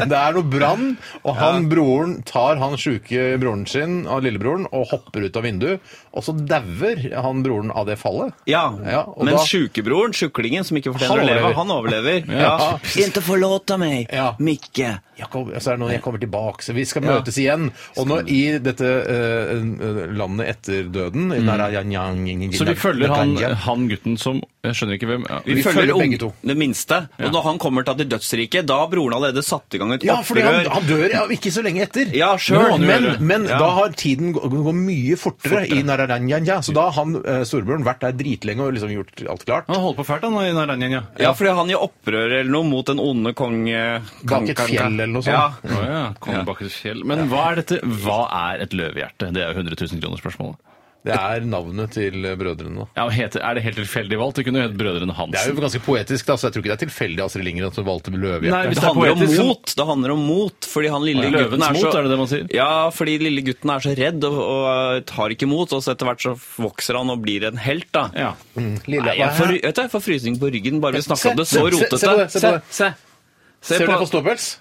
A: Det er noe brann, og han broren tar han sjuke broren sin, av lillebroren, og hopper ut av vinduet. Og så dauer han broren av det fallet.
C: Ja,
A: og
C: men
A: da-
C: sjukebroren, sjuklingen, som ikke fortjener
A: Han
C: å leve,
A: overlever.
C: han overlever.
A: Ja.
C: Ikke forlåte meg,
A: Ja.
C: Mikke.
A: Jakob, så er det noe, jeg kommer tilbake, så vi skal møtes igjen. Og nå i dette eh, landet etter døden i Narajanjang-
B: Så vi følger han,
A: Narajanjang.
B: han gutten som Jeg skjønner ikke hvem ja.
C: Vi,
A: Vi
C: følger,
A: følger begge
C: ung-
A: to.
C: det minste. Og når han kommer til det dødsriket, da har broren allerede satt i gang et
A: Ja, fordi han,
C: opprør.
A: han dør ja, ikke så lenge etter.
C: Ja, selv.
A: Men,
C: Ja.
A: men
C: Ja.
A: da har tiden gå- går mye fortere, i Nararanjanja. Så da har han eh, storebroren vært der dritlenge og liksom gjort alt klart.
B: Han holdt på fælt, han i Naranjen, ja.
C: Ja, fordi han gjør opprør eller noe mot den onde eh, konge...
A: Bak et fjell eller noe sånt.
C: Ja.
B: Å ja. Kongen bak et fjell. Men hva er dette? Hva er et løvehjerte? Det er jo 100 000 kroner spørsmålet.
A: Det er navnet til brødrene. da.
B: Ja, og heter, er det helt tilfeldig valgt? Det kunne jo hett Brødrene Hansen.
A: Det er jo ganske poetisk, da, så jeg tror ikke det er tilfeldig Astrid Lindgren at hun valgte
B: Nei,
A: løvehjerte.
B: hvis det
C: Det
B: er
C: handler om
B: poetisk, så-
C: mot, det handler om mot, fordi han lille
B: Ja,
C: gutten
B: løvens
C: er så...
B: mot, er det det man sier?
C: Ja, fordi lille gutten er så redd og, og tar ikke mot, og så etter hvert så vokser han og blir en helt, da.
B: Ja.
A: Lille-
C: Nei, jeg får, vet du, jeg får frysning på ryggen bare vi snakker om det,
A: Se,
C: så
A: se,
C: rotete.
A: se på det, se på det.
C: se. Se
A: Ser du
C: på,
A: på ståpels?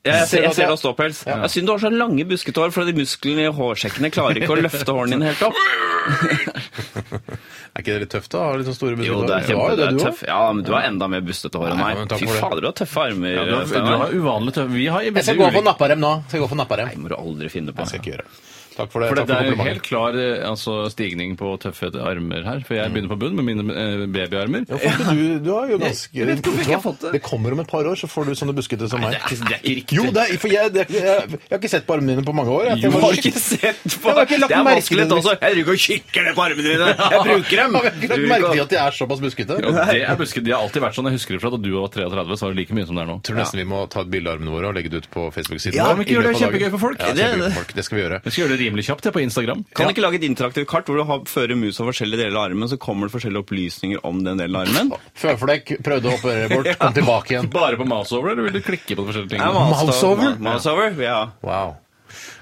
C: ja, jeg,
A: ser
C: ser,
A: du
C: jeg
A: at jeg-
C: ser deg ståpels. Jeg syns du har så lange buskete hår, for de musklene i hårsekkene klarer ikke å løfte hårene dine helt opp.
A: Er ikke det litt tøft, da? Har litt sånn store
C: Jo, det er
A: Du har
C: kjempe,
A: jo
C: det er
A: du
C: tøff. Ja, men du har enda mer bustete hår enn
A: Nei, men
C: meg.
A: takk
C: Fy
A: for det.
C: fader, du har tøffe armer.
B: Du har, du
C: Steinar.
B: har uvanlig tøv. Vi har
A: Jeg skal gå for napparem nå. Skal gå for napparem.
C: Nei, må du aldri finne på.
A: Jeg skal ikke gjøre det. Takk for det.
B: For det,
A: Takk
B: det
A: for
B: er jo
A: komplimentet.
B: helt klar eh, altså, stigning på tøffe armer her, for jeg begynner på bunn med mine eh, babyarmer.
A: Ja, får ikke du, du har jo ganske
C: jeg vet
A: Vet du
C: ikke hvorfor ikke jeg
A: hva?
C: har fått det.
A: Det kommer om et par år, så får du sånne buskete som meg.
C: det er ikke- det er ikke riktig.
A: Jo, det er, for jeg, det er, jeg, jeg har ikke sett på armene dine på mange år. Jeg,
C: Du har ikke sett på
A: Jeg har ikke lagt
C: Det er
A: merke
C: vanskelig
A: til det.
C: også. Jeg driver og kikker ned på armene dine. Jeg bruker dem.
A: Jeg har ikke lagt
C: Du bruker-
A: merke til at de er såpass buskete.
B: Ja, det er buske, de har alltid vært sånn. Jeg husker det fra da du var 33, så var det like mye som det er nå.
A: Jeg tror nesten vi må ta et bilde av armene våre og legge det ut på Facebook-siden.
C: Ja,
A: vår
C: men
B: ikke gjør
A: i
B: det
A: løpet av dagen.
B: kjempegøy for folk.
A: Ja,
C: Det er
A: kjempegøy
C: det.
A: for folk. Det skal vi gjøre.
B: Jeg skal gjøre det rimelig kjapt jeg, på Instagram.
C: Kan du ikke lage et interaktivt kart hvor du har, fører musa forskjellige deler av armen, så kommer det forskjellige opplysninger om den delen av armen?
A: Føflekk prøvde å operere bort, kom tilbake igjen.
B: Bare på mouse over, eller vil du klikke på de forskjellige
C: Ja,
B: tingene?
C: mouse
A: Mouse over?
C: over? Mouse over, ja.
A: Wow.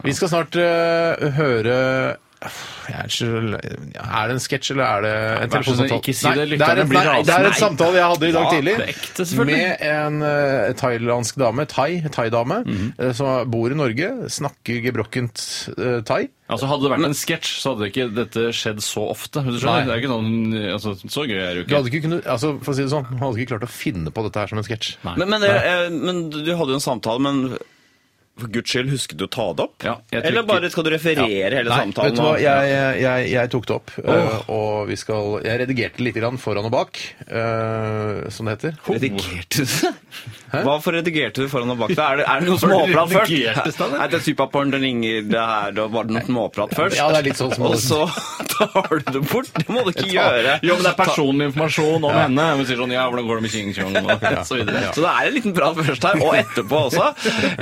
A: Vi skal snart eh, høre Jeg er, så, er det en sketsj, eller er det en
B: vær så snill,
A: telefonsamtale?
B: ikke si det,
A: Nei, det, er
B: lytterne
A: en,
B: blir
A: nei, det er en
B: rasende.
A: samtale jeg hadde i dag
B: Ja,
A: tidlig
B: det er ekte, selvfølgelig.
A: med en eh, thailandsk dame, thai, thai-dame,
B: Mhm.
A: eh, som bor i Norge, snakker gebrokkent eh, thai.
B: Altså, hadde det vært en sketsj, så hadde ikke dette skjedd så ofte. Hvis du skjønner,
A: Nei.
B: det er ikke noen, altså, Så gøy er det
A: Du
B: jo
A: hadde
B: ikke.
A: ikke kunnet, altså, for å si det sånn, hun hadde ikke klart å finne på dette her som en sketsj.
B: Nei.
C: Men, men, det- eh, men du hadde jo en samtale, men for guds skyld, husket du å ta det opp?
B: Ja, jeg tror
C: Eller
B: ikke-
C: bare skal du referere hele
A: Nei,
C: samtalen?
A: vet du hva?
C: og-
A: Jeg, jeg, jeg tok det opp, øh, og vi skal Jeg redigerte litt grann foran og bak, øh, som det heter.
C: Redigerte du det? Hva for redigerte du foran og bak deg? Er det, er det noe småprat først?
B: Redigerte du det?
C: Nei, det er superporn, den ringer det her, da var det noe småprat først.
A: Ja, det er litt sånn som-
C: Og så tar du det bort. Det må du ikke gjøre.
B: Jo, men det er personlig informasjon om henne. Hun sier sånn Ja, hvordan går det med King Chong? Og så videre.
C: Så det er en liten prat først her, og etterpå også.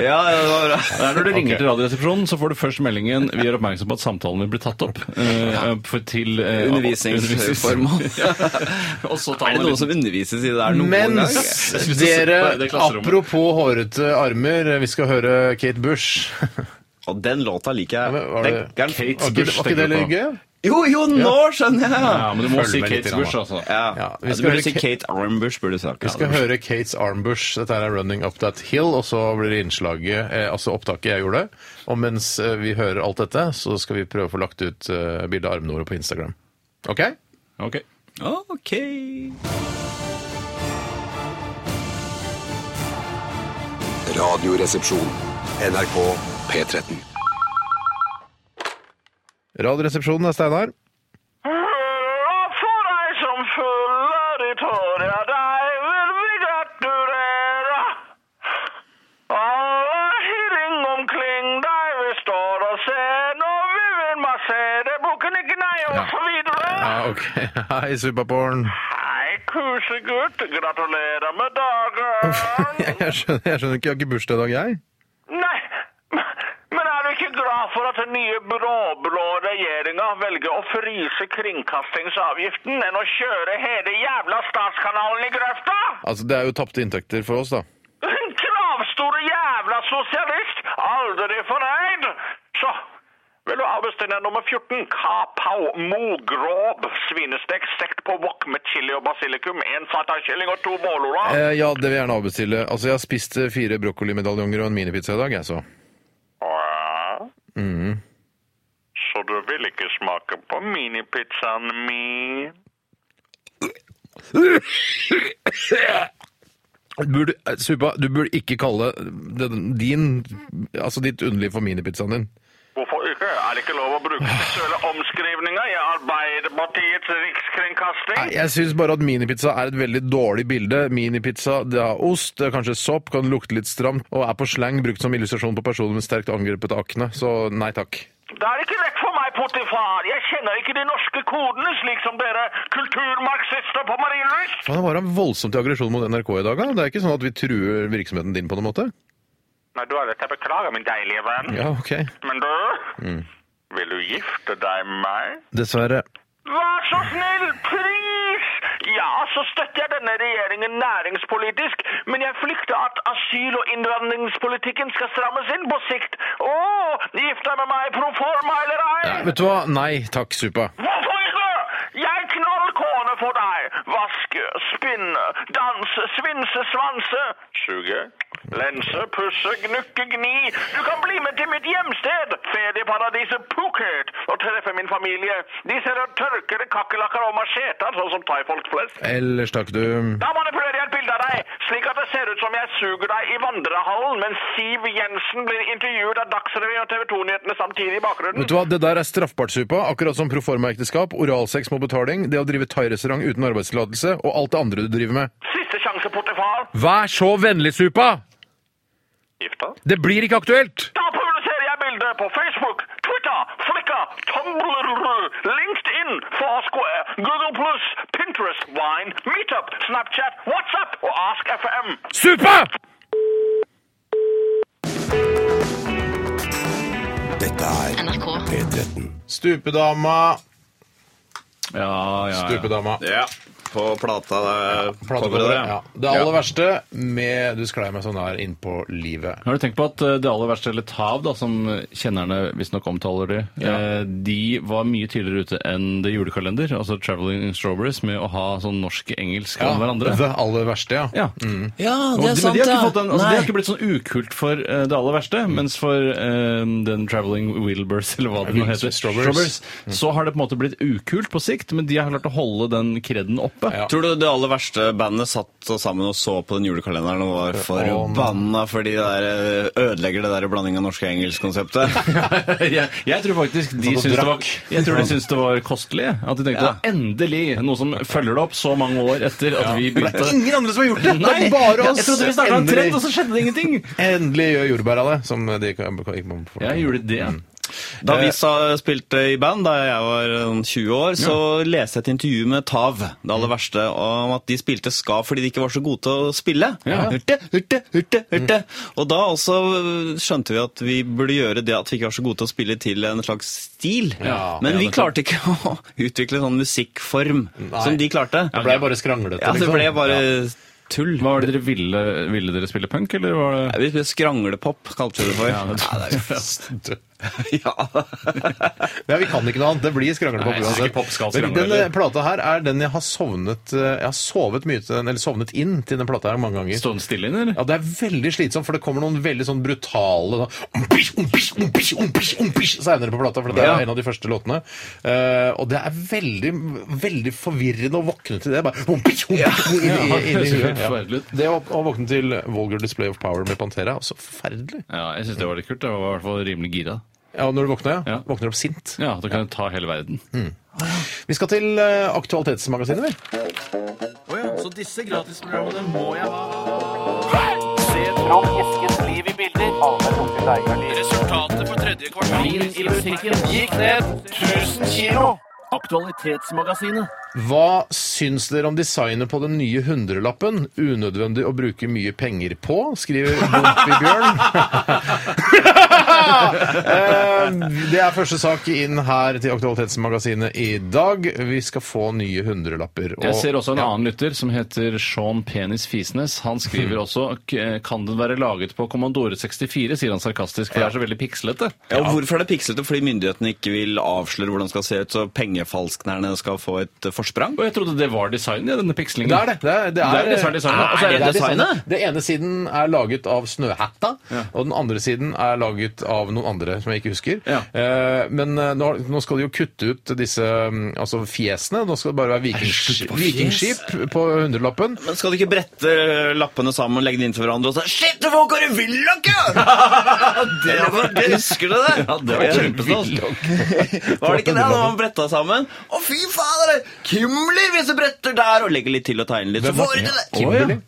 C: Ja, det var bra.
B: Det er Når du ringer til Radioresepsjonen, så får du først meldingen Vi er oppmerksom på at samtalen vil bli tatt opp. eh, for til eh,
C: Undervisningsformål.
B: Og så tar man
C: Er det noen
B: litt
C: som undervises i det der noen gang?
A: Mens
B: synes det
A: dere,
B: var i det klasserommet.
A: apropos hårete armer, vi skal høre Kate Bush.
C: Og den låta liker
A: Ja,
C: jeg.
A: men var det-
C: Den- den-
B: Kate
A: Var ikke,
B: Bush,
A: var ikke
B: tenker
A: det litt
B: du på?
A: gøy?
C: Jo, jo, nå skjønner jeg!
B: Ja, men du må
A: Følg
B: si
A: med litt
B: Kates
A: grann,
B: Bush,
A: da.
B: altså.
C: Ja.
A: Ja, vi skal
C: Ja, du burde
A: høre
C: si
A: Ka-
C: Kate Armbush, burde altså. du sagt.
A: Vi skal høre Kates Armbush. Dette her er 'Running Up That Hill', og så blir det innslaget, eh, altså opptaket jeg gjorde. Og mens eh, vi hører alt dette, så skal vi prøve å få lagt ut eh, bilde av armene våre på Instagram. OK?
B: Ok.
C: Ok.
D: Radioresepsjon. NRK P13.
A: Radioresepsjonen er Steinar.
G: For deg som følger ditt hår, ja, deg vil vi gratulere. Alle i ring omkring deg, vi står og ser når vi vil massere bukken, ikke nei, og
A: Ja.
G: så videre.
A: Ja, OK. Hei, Superporn.
G: Hei, kosegutt, gratulerer med dagen.
A: Jeg skjønner, jeg skjønner ikke, jeg har ikke bursdag i dag, jeg.
G: Nei, men er du ikke glad for at den nye blå-blå regjeringa velger å fryse kringkastingsavgiften enn å kjøre hele jævla statskanalen i grøfta?
A: Altså, Det er jo tapte inntekter for oss, da.
G: En kravstor jævla sosialist! Aldri fornøyd! Så vil du avbestille deg nummer 14? Kapau, mogrob, svinestekt, stekt på wok med chili og basilikum, en satakylling og to bålora.
A: Eh, ja, det vil jeg gjerne avbestille. Altså, Jeg har spist eh, fire brokkolimedaljonger og en minipizza i dag, jeg, så.
G: Åh.
A: Mm.
G: Så du vil ikke smake på minipizzaen min?
A: Burde, eh, Supa, du burde ikke kalle den, din, altså ditt underliv for minipizzaen din.
G: Hvorfor ikke? Er det ikke lov å bruke seksuelle omskrivninger i Arbeiderpartiets
A: Nei,
G: rikskringkasting?
A: Jeg syns bare at minipizza er et veldig dårlig bilde. Minipizza det har ost, det er kanskje sopp, kan lukte litt stramt, og er på slang brukt som illustrasjon på personer med sterkt angrepet akne. Så nei takk.
G: Det er ikke rett for meg, Potifar. Jeg kjenner ikke de norske kodene, slik som dere kulturmarxister på Marienlyst.
A: Faen, det var han voldsomt til aggresjon mot NRK i dag, da? Det er ikke sånn at vi truer virksomheten din på noen måte?
G: Nei, du er rett. Jeg beklager, min deilige venn.
A: Ja, ok.
G: Men du,
A: Mm.
G: vil du gifte deg med meg?
A: Dessverre.
G: Vær så snill, pris! Ja, så støtter jeg denne regjeringen næringspolitisk, men jeg flykter at asyl- og innvandringspolitikken skal strammes inn på sikt. Å, gift deg med meg pro forma eller ei?
A: Nei, vet du hva? Nei takk, Supa.
G: Hvorfor ikke? Jeg knall kone for deg. Vaske, spinne, danse, svinse, svanse. Suge, lense, pusse, gnukke, gni. Du kan bli med til mitt hjemsted, ferieparadiset Phuket, og treffe min familie. De selger tørkede kakerlakker og macheter, sånn som thaifolk flest.
A: Ellers takk, du.
G: Da manipulerer jeg et bilde av deg, slik at det ser ut som jeg suger deg i vandrehallen, mens Siv Jensen blir intervjuet av Dagsrevyen og TV 2-nyhetene samtidig i bakgrunnen.
A: Vet du hva, Det der er straffbart, Supa. Akkurat som proformaekteskap, oralsex mot betaling, det å drive thairestaurant uten arbeidstillatelse og alt det andre du driver med.
G: Siste sjanse, Potifar.
A: Vær så vennlig, Supa!
G: Gift deg.
A: Det blir ikke aktuelt!
G: Da publiserer jeg bilder på Facebook, Twitter, Flickr, Tumblr, LinkedIn, Foursquare, Google+, Pinterest, Vine, Meetup, Snapchat, WhatsApp og Ask FM.
A: Supa!
D: Dette er
H: NRK.
D: P13.
A: Stupedama.
B: Ja, ja, ja.
A: Stupedama.
C: Ja, på plata. eh,
A: Platecoveret,
C: coveret,
A: ja. Det aller verste med Du sklei meg sånn her innpå livet.
B: Har du tenkt på at eh, det aller verste, eller Tav, da, som kjennerne visstnok omtaler det, eh, de var mye tidligere ute enn The Julekalender, altså Traveling Strawberries, med å ha sånn norsk-engelsk om hverandre.
A: Det aller verste, ja.
B: Ja.
C: Ja,
B: Mm. Og
C: det
B: de,
C: er
B: men
C: sant,
B: de har
C: ja.
B: ikke, fått den, altså, de
C: Nei.
B: har ikke blitt sånn ukult for eh, det aller verste, mens for eh, den Traveling Wheelburs, eller hva det nå
A: Wheelburs,
B: heter,
A: Strawberries.
B: så har det på en måte blitt ukult på sikt, men de har klart å holde den kredden oppe
C: gruppe.
A: Ja.
C: Tror du det aller verste bandet satt sammen og så på den julekalenderen og var forbanna fordi det der eh, ødelegger det der blanding av norsk og engelsk-konseptet?
B: jeg, jeg tror faktisk de
A: og
B: syns det, var,
A: drakk.
B: jeg tror de syns det var kostelig. At de tenkte
C: Ja.
B: "Å, endelig noe som følger det opp så mange år etter at vi
A: Det er
B: begynte.
A: ingen andre som har gjort det! det
B: Nei,
A: er bare oss.
B: jeg trodde vi snakket om trend, og
A: endelig,
B: så skjedde det ingenting!
A: endelig gjør jordbær av det, som de kan- kan- ikke må
B: Jeg gjorde det.
A: Mm.
C: Da
B: Eh,
C: vi sa, spilte i band da jeg var eh, 20 år, så leste jeg et intervju med Tav, det aller
B: Mm.
C: verste, om at de spilte ska fordi de ikke var så gode til å spille.
B: Ja. Mm.
C: Hørte, hørte, hørte, hørte. Og da også eh, skjønte vi at vi burde gjøre det at vi ikke var så gode til å spille til en slags stil.
A: Ja,
C: Men
B: ja,
C: vi
B: nettopp.
C: klarte ikke å utvikle sånn musikkform som de klarte.
A: Det ble bare liksom. skranglete.
C: Ja, så det ble bare tull.
B: Hva var det dere ville? Ville dere spille punk, eller var det
C: Vi spilte Skranglepop, kalte vi det for.
B: Ja, det tror
C: det er jo
A: liksom.
C: ja.
A: Ja, vi kan ikke noe annet. Det blir skranglepop
B: Nei, jeg synes ikke pop skal
A: Men
B: skrangle,
A: denne
B: eller?
A: plata her er den jeg har sovnet eh, Jeg har sovet mye til den, eller sovnet inn til den plata her mange ganger.
B: stående stille inn, eller?
A: Ja, det er veldig slitsomt, for det kommer noen veldig sånn brutale da, umpish, umpish, umpish, umpish, umpish, senere på plata, for det er
C: Ja.
A: en av de første låtene. Eh, og det er veldig veldig forvirrende å våkne til det. Bare, umpish, umpish, inn, i-
B: Ja,
A: inn,
B: det
A: i
B: høres
A: huet.
B: helt forferdelig ut.
A: Det å, å våkne til Vulgar Display of Power med Pantera, så forferdelig.
B: Ja, jeg syns det var litt kult. Jeg var i hvert fall rimelig gira.
A: Ja, og når du våkner, ja.
B: Ja.
A: Våkner opp sint.
B: Ja, Da kan jeg ta hele verden.
A: Mm. Vi skal til eh, Aktualitetsmagasinet, vi.
B: Så disse gratisprogrammene må jeg ha.
I: Resultatet for tredje kvartal i musikken gikk ned 1000 kilo. Aktualitetsmagasinet.
A: Hva syns dere om designet på den nye hundrelappen? Unødvendig å bruke mye penger på, skriver Bompi Bjørn. Eh, det er første sak inn her til Aktualitetsmagasinet i dag. Vi skal få nye hundrelapper. og-
B: Jeg ser også en
A: Ja.
B: annen lytter som heter Sean Penis Fisnes. Han skriver
A: Mm.
B: også "K- Kan den være laget på Kommandore 64, sier han sarkastisk, for det er så veldig pikslete.
C: Ja, og Hvorfor er det pikslete? Fordi myndighetene ikke vil avsløre hvordan det skal se ut, så pengefalsknerne skal få et eh, forsprang?
B: Og jeg trodde det var designet, ja, denne pikslingen.
A: Det er det. Det er, det
B: Det er jo design- designet. Og så er det
A: det
C: designet?
A: Det ene siden er laget av Snøhatta, og den andre siden er laget av noen andre som jeg ikke husker.
B: Ja.
A: Eh, men eh, nå, nå skal de jo kutte ut disse mm, altså fjesene. Nå skal det bare være vikingskip, vikingskip på hundrelappen.
C: Men skal du ikke brette eh, lappene sammen og legge dem inntil hverandre og si Shit, det var bare Willoch, ja! det var, det husker du det? Ja, det var kjempestas. Var det ikke det da man bretta sammen? Å, fy fader! Kimler, hvis du bretter der og legger litt til og tegner litt, så
A: Hvem var
C: får du
A: det?
C: til det!
A: Kimberly?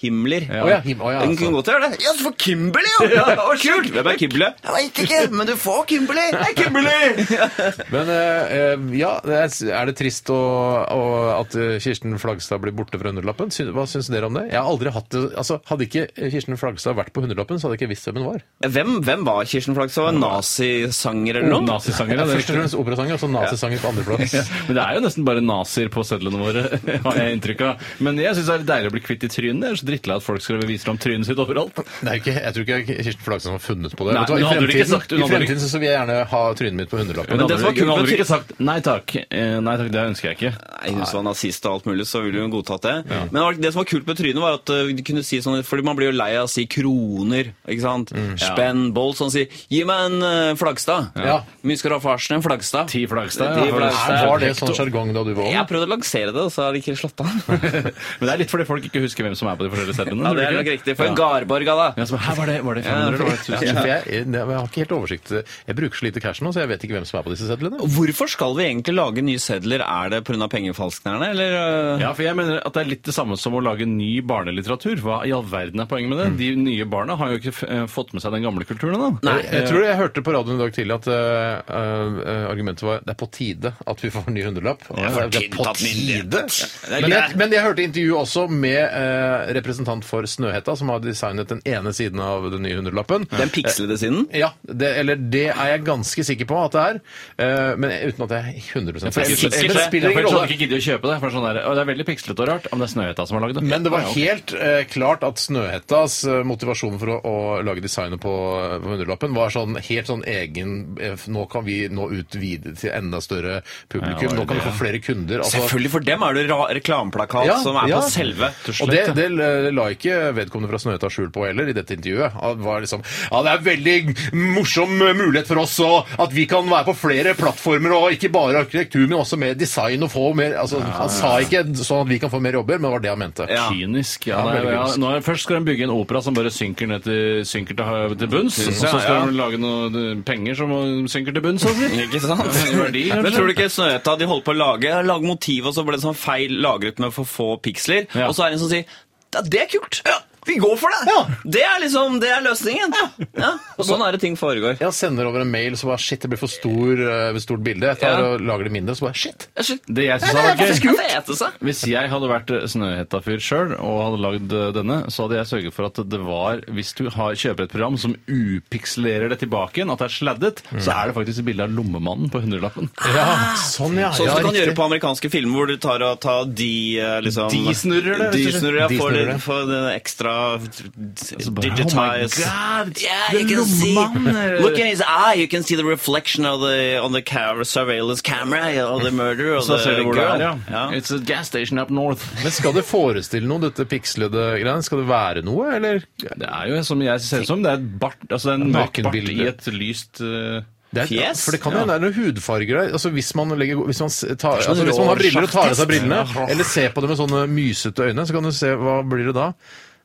C: Himler.
A: Å ja, Him- å ja,
C: Den
A: altså.
C: kunne godt gjøre det. Ja, så får Kimberly, jo! Ja, det var kult! Hvem er Kimberly? Jeg veit ikke, men du får Kimberly. Det er Kimberly!
A: Men eh, eh, ja, det er er det trist å, å, at eh, Kirsten Flagstad blir borte fra hundrelappen? Syn- Hva syns dere om det? Jeg har aldri hatt det, altså Hadde ikke Kirsten Flagstad vært på hundrelappen, så hadde jeg ikke visst hvem hun var.
C: Hvem, hvem var Kirsten Flagstad? Nazisanger eller noe?
B: Nazisanger,
A: Ja,
B: ja. det er
A: Først og
B: riktig.
A: fremst operasanger, og så nazisanger på andreplass.
B: Ja, Men det er jo nesten bare nazier på sedlene våre, har jeg inntrykk av. Men jeg syns det er deilig å bli kvitt i trynet. Jeg er så drittlei at folk skal vise fram trynet sitt overalt.
A: Det er jo ikke, jeg tror ikke Kirsten Flagstad har funnet på det.
B: Nei,
A: Vet du hva,
B: hun
A: I
B: hadde vel ikke
A: fremtiden,
B: sagt- hun
A: i
B: hadde vel
A: fremtiden så vil jeg gjerne ha trynet mitt på hundrelappen.
B: Hun
C: det
B: hadde
C: som var
B: vel- hun
C: kult
B: hadde
C: med
B: vel ikke sagt nei takk, eh, nei takk, det ønsker jeg ikke.
C: Nei, Hvis hun var nazist og alt mulig, så ville hun godtatt det. Men det var- det som var kult med trynet, var at eh, de kunne si sånn Fordi man blir jo lei av å si kroner, ikke sant? Spenn, boll, sånn sier Gi meg en eh, Flagstad.
A: Ja.
C: Mye skal du ha for arsen? En Flagstad?
B: Ti Flagstad, ja.
C: Ti Flagstad.
A: Her Var det sånn sjargong da du var
C: Jeg
A: ung?
C: har prøvd å lansere det, og så har det ikke slått an.
B: Men det er litt fordi folk ikke husker hvem som er på de forskjellige sedlene.
C: Ja,
B: tror du
C: det er
B: ikke?
C: nok riktig. For en
B: Ja.
C: Garborga, da.
B: Ja, så, her var det, var det 500 eller var det 1000?
A: Ja, for jeg, jeg, jeg har ikke helt oversikt. Jeg bruker så lite cash nå, så jeg vet ikke hvem som er på disse sedlene.
C: Hvorfor skal vi egentlig lage nye sedler? Er det pga. pengefalsknerne, eller? eh?
B: Ja, for jeg mener at det er litt det samme som å lage ny barnelitteratur. Hva i all verden er poenget med det? De nye barna har jo ikke f- eh, fått med seg den gamle kulturen ennå. Eh,
A: Jeg, jeg tror jeg hørte på radioen i dag tidlig at eh, eh, argumentet var det er på tide at vi får en ny hundrelapp. det er på tide! Men jeg, men jeg hørte intervju også med eh, representant for Snøhetta, som har designet den ene siden av den nye hundrelappen.
C: Den pikslede siden?
A: Ja, det, eller det er jeg ganske sikker på at det er. eh, men uten at jeg er 100
B: For jeg
A: sikker.
B: sikkert
A: Men
B: det.
A: det spiller ingen
B: Ellers hadde jeg
A: rolle.
B: ikke giddet å kjøpe det. For det er sånn der, «Å, det er veldig pikslete og rart, om det er Snøhetta som har lagd det.
A: Men det var
B: Ja, ja.
A: helt eh, klart at Snøhettas eh, motivasjon for å, å lage designet på, eh, på hundrelappen var sånn helt sånn egen eh, Nå kan vi nå ut videre til enda større publikum.
B: Ja,
A: nå kan vi
B: det.
A: få flere kunder. altså-
C: Selvfølgelig, for dem er det ra reklameplakat som er
A: ja.
C: på selve.
A: Og det, det eh, la ikke vedkommende fra Snøhetta skjul på heller i dette intervjuet. Han var liksom Ja, det er veldig morsom eh, mulighet for oss og at vi kan være på flere plattformer og ikke bare arkitektur, men også mer design og få mer Altså, han sa ikke sånn at vi kan få mer jobber, men det var det han mente.
C: Ja.
B: Kynisk. Ja,
A: Ja,
B: det er,
A: veldig
B: ja,
A: kynisk.
B: nå er, først skal de bygge en opera som bare synker, ned til, synker til, til bunns. Og så skal
C: ja.
B: de lage noen eh, penger som synker til bunns. Altså.
C: Ikke sant?
B: Verdi, kanskje?
C: Men tror du ikke Snøhetta de holdt på å lage, lage motiv, og så ble det sånn feil lagret med for få piksler?
B: Ja.
C: Og så er det en som sier ja, 'Det er kult! Ja, vi går for det!' Det er liksom, det er løsningen. Ja. Og sånn er det ting foregår.
A: Jeg sender over en mail så bare Shit, det blir for stor, eh, stort bilde. Jeg tar
C: Ja.
A: og lager det mindre, så bare Shit!
C: Det er så-
B: Det jeg synes hadde vært gøy
C: Det er fete seg.
B: Hvis jeg hadde vært eh, Snøhetta-fyr sjøl og hadde lagd eh, denne, så hadde jeg sørget for at det var Hvis du har, kjøper et program som upikselerer det tilbake igjen, at det er sladdet, så er det faktisk et bilde av lommemannen på hundrelappen.
A: Ja, sånn, ja.
C: Sånn
A: ja,
C: som du kan
A: riktig.
C: gjøre på amerikanske filmer, hvor du tar og tar de eh, liksom,
B: De snurrer det, rett og
C: De
B: slett.
C: snurrer, ja,
A: De
C: for,
A: snurrer
C: det-
A: det.
C: for den ekstra
B: Altså, bare,
C: digitized
B: oh my God,
C: Yeah,
B: det
C: you can see.
B: lommemannen.
C: Look in his eye, you can see the reflection of the, on the ca- surveillance camera of the murderer of
B: Så da
C: the
B: ser du hvor det
C: girl.
B: er, ja. It's a gas station up north.
A: Men skal det forestille noe, dette pikslede greiene? Skal det være noe, eller?
B: Det er jo som jeg ser det som. Det er et bart, altså det er en mørk bart
A: Nakenbilde.
B: i et lyst eh,
A: Det er,
C: Fjes?
A: For det kan jo være noen hudfarger der. Altså, hvis man, legger, hvis man, s- tar,
C: sånn
A: altså, hvis man har briller og tar av seg
C: Rorschach-test.
A: brillene, eller ser på det med sånne mysete øyne, så kan du se hva blir det da.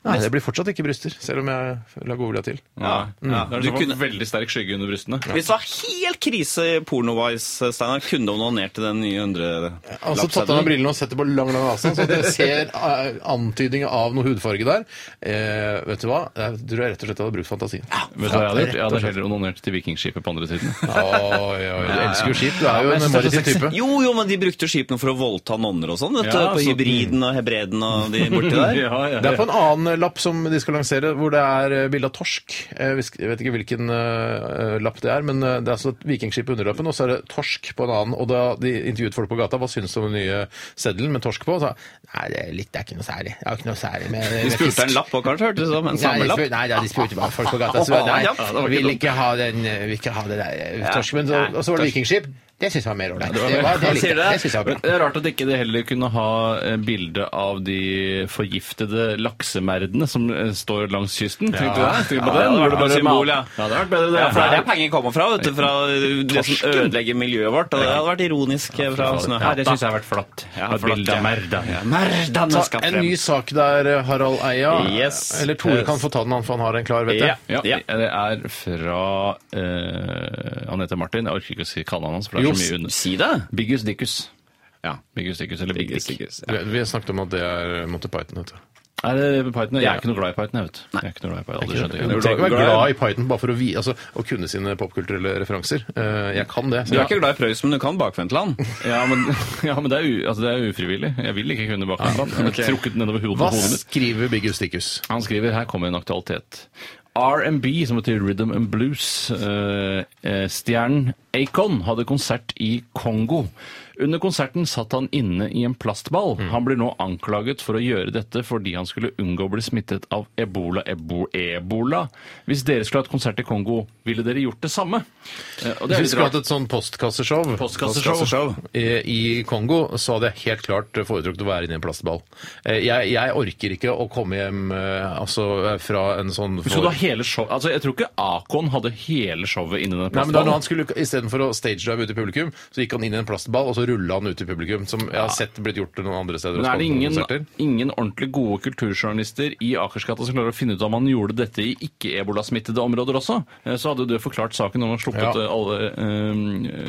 A: Nei, det blir fortsatt ikke bryster, selv om jeg la godvilja til.
B: ja. mm, Det er sånn.
C: Du
B: som
C: kunne-
B: en veldig sterk skygge under brystene.
C: Hvis det var helt krise porno-wise, Steinar, kunne du onanert til den nye
A: Altså tatt av meg
C: hundrelappseddelen?
A: brillene og setter på lang, lang avstand, så at jeg ser eh, antydninger av noe hudfarge der. Eh, vet du hva? Jeg tror jeg rett og slett hadde brukt fantasien.
B: Vet du hva jeg hadde gjort? Jeg hadde heller onanert til vikingskipet på andre siden.
A: Oi, oi, du elsker jo skip. Du er
B: men jeg
A: jo en
B: synes det er
A: maritim
B: så
A: type.
C: Jo, jo, men de brukte jo skipene for å voldta nonner og sånn, vet du.
B: Ja,
C: På
B: så-
C: hybriden og hebreden og de borti der.
A: Det er på en annen lapp som de skal lansere, hvor det er eh, bilde av torsk. Jeg vis- jeg vet ikke hvilken eh, lapp det er, men eh, det er altså et vikingskip under lappen, og så er det torsk på en annen. Og da de intervjuet folk på gata, hva syns du om den nye seddelen med torsk på? Og sa nei, det er litt, det er ikke noe særlig. Det er ikke noe særlig med,
C: De
A: med
C: spurte
A: fisk.
C: en lapp og kanskje, hørtes det ut som. En
A: Nei, de
C: samlelapp.
A: spurte- nei, da, de spurte bare folk på gata. Så, nei,
C: Ja, det var ikke
A: vil
C: dumt.
A: ikke ha den, eh, vil ikke ha det der eh, torsken. Men så-
C: Nei,
A: Og så var det vikingskip. Det syns jeg var mer ålreit. Det, var- det
C: Hva
A: likte
C: sier
A: jeg.
C: dere?
A: Det synes jeg var bra.
B: Det er rart at ikke det heller kunne ha eh, bilde av de forgiftede laksemerdene som eh, står langs kysten. Tenkte du det? Tenkte du på
C: Ja,
B: den? Hvor
C: det hadde
B: det
C: vært
B: bare
C: et symbol, ja.
B: Ja, det hadde vært bedre det.
C: Ja, for det er der penger kommer fra, vet du, fra det som
B: Torsken.
C: ødelegger miljøet vårt. Og det hadde vært ironisk eh, fra snø.
B: Ja, det syns jeg har vært flatt.
C: Ja,
B: Et
C: flatt,
B: bilde
C: ja.
B: av merda.
C: Ja, merdene
A: Ta
C: skal
A: en
C: frem.
A: ny sak der, eh, Harald Eia.
C: Yes.
A: Eller Tore kan få ta den, han, for han har en klar, vet du.
C: Ja.
B: Ja, det er fra eh, Han heter Martin. Jeg orker ikke å si kallenavnet hans, for det er
C: Jo,
B: så mye under.
C: si det.
B: Biggus Dickus. Ja. Biggus Dickus eller Big
C: Biggus
B: Dick.
C: Dickus,
A: Vi- Vi har snakket om at det er Monty Python. Vet du.
B: Er det Python? Jeg er ikke noe glad i Python, jeg vet. Jeg er ikke noe glad i Python. Aldri skjønte
A: Du
B: jeg.
A: trenger ikke være glad i Python bare for å, vi, altså, å kunne sine popkulturelle referanser. Eh, jeg kan det. så
C: Du er
A: jeg-
C: ikke glad i Prøys, men du kan bakvendtland.
B: Ja, men, ja, men det, er u, altså, det er ufrivillig. Jeg vil ikke kunne bak en plan.
C: ok.
B: Trukket nedover hodet
A: Ah, Hva
B: på hodet mitt.
A: skriver Biggus Dickus?
B: Han skriver her kommer en aktualitet. R&B, som betyr Rhythm and Blues, eh, eh, stjernen Acon hadde konsert i Kongo. Under konserten satt han inne i en plastball.
A: Mm.
B: Han blir nå anklaget for å gjøre dette fordi han skulle unngå å bli smittet av ebola. Ebo, ebola. Hvis dere skulle hatt konsert i Kongo, ville dere gjort det samme? Eh, og det er
A: Hvis vi
B: litt
A: skulle
B: rart.
A: hatt et sånn postkasseshow
B: Postkasseshow.
A: postkasseshow Eh, i, i Kongo, så hadde jeg helt klart foretrukket å være inne i en plastball. Eh, jeg, jeg orker ikke å komme hjem eh, altså, fra en sånn
B: Men Skulle du ha hele show? Altså, jeg tror ikke Akon hadde hele showet inni den
A: Nei, men da
B: plastballen.
A: når han skulle, Istedenfor å stagedive ut i publikum, så gikk han inn i en plastball og så rulla han ut i publikum. Som jeg har sett blitt gjort noen andre steder.
B: Men er
A: også
B: det
A: på
B: ingen,
A: konserter.
B: ingen ordentlig gode kulturjournalister i Akersgata som klarer å finne ut om han gjorde dette i ikke-ebolasmittede områder også? Eh, Så hadde jo det forklart saken om han sluppet
A: Ja.
B: eh, alle eh,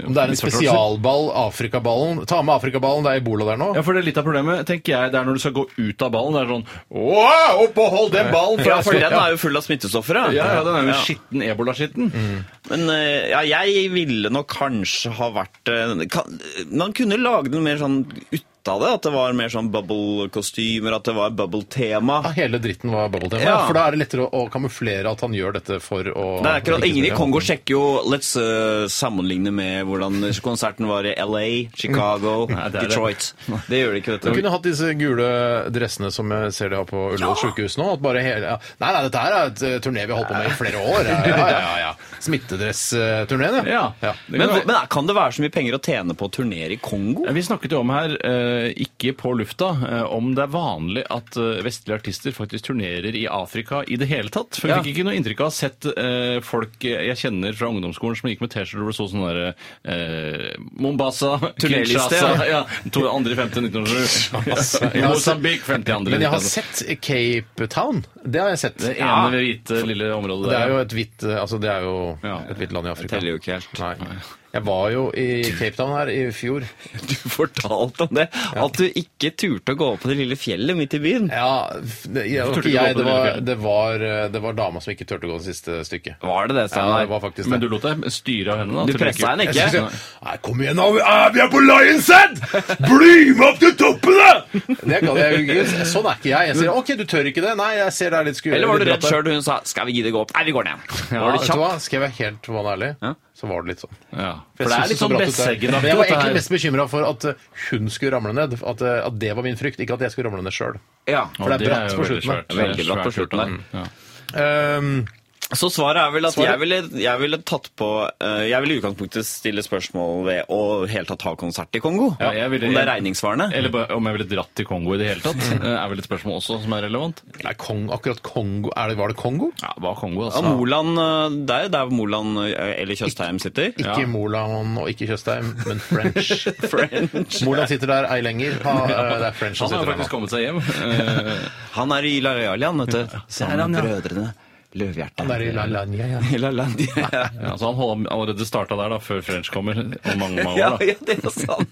A: Om det er en
B: misforståelser.
A: spesialball, Afrikaballen Ta med Afrikaballen, det er Ebola der nå.
B: Ja, for det er litt av problemet, tenker jeg, det er når du skal gå ut av ballen. Det er sånn Åh, opp og hold den ballen!
C: Ja,
B: fra
C: for den
B: ja,
C: er jo full av smittestoffer,
B: ja, ja, Mm. den er jo
C: Ja.
B: skitten ebola-skitten.
C: Men eh, ja, jeg ville nok kanskje ha vært eh, kan, Man kunne lage den mer sånn ut av det, at det var mer sånn bubble-kostymer, at det var bubble-tema.
A: Ja, hele dritten var bubble-tema.
C: Ja.
A: For da er det lettere å, å kamuflere at han gjør dette for å
C: Det er akkurat,
A: ikke-
C: Ingen i Kongo sjekker jo Let's eh, sammenligne med hvordan konserten var i LA, Chicago,
B: det er det.
C: Detroit. Det gjør de
A: Du
C: ikke, vet du.
A: kunne hatt disse gule dressene som jeg ser de har på Ullevål sykehus nå. At bare hele, ja. Nei, nei, dette her er et eh, turné vi har holdt på med i flere år. Ja, ja, ja, ja. Smittedressturneen,
B: Ja.
A: ja.
B: Det kan
C: Men,
B: være-
C: men kan det være så mye penger å tjene på turnéer i Kongo?
B: Vi snakket jo om her eh, eh, ikke på lufta, eh, om det er vanlig at eh, vestlige artister faktisk turnerer i Afrika i det hele tatt. For jeg
C: Ja.
B: fikk ikke noe inntrykk av å ha sett eh, folk eh, jeg kjenner fra ungdomsskolen som gikk med T-skjorter hvor det sto sånn derre eh, Mombasa,
C: Turnéliste,
B: Kinshasa ja. to andre i femte 1907.
A: Jeg
B: I
A: har
B: Mosambik, femte i andre.
A: Men jeg har
B: 1907.
A: sett Cape Town. Det har jeg sett.
B: det ene
A: Ja.
B: hvite lille området
A: Det
B: der.
A: er jo et hvitt altså det er jo
B: Ja.
A: et hvitt land i Afrika.
C: teller jo ikke helt.
A: Nei. Jeg var jo i Cape Town her i fjor.
C: Du fortalte om det. At du ikke turte å gå opp på det lille fjellet midt i byen.
A: Ja, f- det, jeg,
B: Hvorfor turte
A: ikke
B: du gå på
A: jeg, det,
B: det lille
A: var,
B: fjellet?
A: det, var, eh, det var dama som ikke turte å gå det siste stykket.
C: Var det det,
A: Ja, det
C: Steinar?
A: var faktisk
B: Men
A: det.
B: du lot deg styre av henne? da?
C: Du
B: Tror
C: presset henne
A: Jeg
C: ikke?
A: synes jeg- Nei, kom igjen, da! Ah, Vi er på Lions Head! Bli med opp til toppen, da! Det kan jeg jo ikke. Sånn er ikke jeg. Jeg sier OK, du tør ikke det? Nei, jeg ser det er litt skummelt.
C: Eller var du
A: litt bratt
C: redd
A: der.
C: sjøl da hun sa 'skal vi gidde gå opp'? Nei, vi går ned.
A: Ja,
C: Var det
A: vet du
C: kjapt?
A: hva? Skal jeg være helt vanlig ærlig, så var det litt sånn.
B: Ja. For det
A: Jeg
B: er litt
A: synes
B: sånn
A: så bratt ut der. Men
B: Besseggen-aktig.
A: Jeg var
B: dette her.
A: egentlig mest bekymra for at eh, hun skulle ramle ned. At, eh, at det var min frykt, ikke at jeg skulle ramle ned sjøl.
C: Ja.
A: For det er bratt
B: jo
A: på
B: veldig
A: slutten, da.
B: svært. Det er
C: Veldig bratt på
B: svært gjort
C: slutten,
B: av dem. Ja.
A: Um,
C: Så svaret er vel at
A: Svaret-
C: jeg ville, jeg ville tatt på eh, Jeg ville i utgangspunktet stille spørsmål ved å helt tatt ha konsert i Kongo.
B: Ja, jeg ville-
C: Om det er regningssvarende.
B: Eller bare om jeg ville dratt til Kongo i det hele tatt, eh, er vel et spørsmål også som er relevant.
A: nei, Kong, akkurat Kongo er det, Var det Kongo?
B: Ja, hva er Kongo,
C: Ja,
B: altså?
C: Moland, eh, det er jo der Moland eh, eller Tjøstheim sitter.
A: Ikke Moland og ikke Tjøstheim, men French.
C: French.
A: Moland sitter der ei lenger. Ha, eh, det er French som
B: Han har
A: sitter der
B: faktisk
A: nå.
B: kommet seg hjem. Eh,
C: Han er i La Lalia, han, vet du.
B: er han,
C: Sammen
B: ja.
C: med brødrene Løvhjerte.
A: Han er i La Lania, ja.
C: I La Landia.
B: ja, så altså, han holder, allerede starta der, da, før French kommer. Om mange, mange
C: Ja,
B: år, da.
C: ja, det er sant.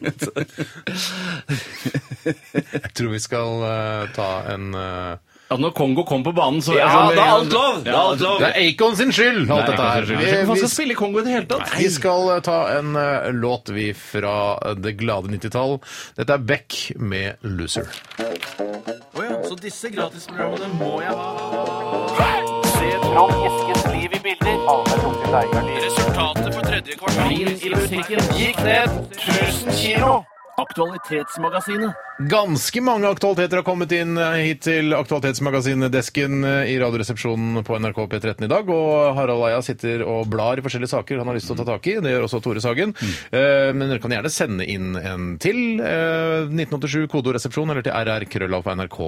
A: Jeg tror vi skal eh, ta en eh,
B: Ja, når Kongo kom på banen, så
C: Ja,
B: altså,
C: det er alt lov! Det er alt lov.
A: Det er Acon sin skyld, alt dette her.
B: Kanskje-
A: Vi-
B: kanskje Man
A: vi-
B: skal spille i Kongo i det hele tatt?
A: Vi skal eh, ta en eh, låt vi fra eh, det glade 90-tall. Dette er Beck med 'Loser'.
I: Så disse gratisprogrammene må jeg ha. Se Trond Eskens liv i bilder. Resultatet for tredje kvartal i musikken gikk ned 1000 kilo. Aktualitetsmagasinet.
A: Ganske mange aktualiteter har kommet inn eh, hit til Aktualitetsmagasinedesken eh, i Radioresepsjonen på NRK P13 i dag. Og Harald Eia sitter og blar i forskjellige saker han har lyst til å ta tak i. Det gjør også Tore Sagen.
C: Mm.
A: Eh, Men dere kan gjerne sende inn en til. eh, 1987 kodoresepsjon eller til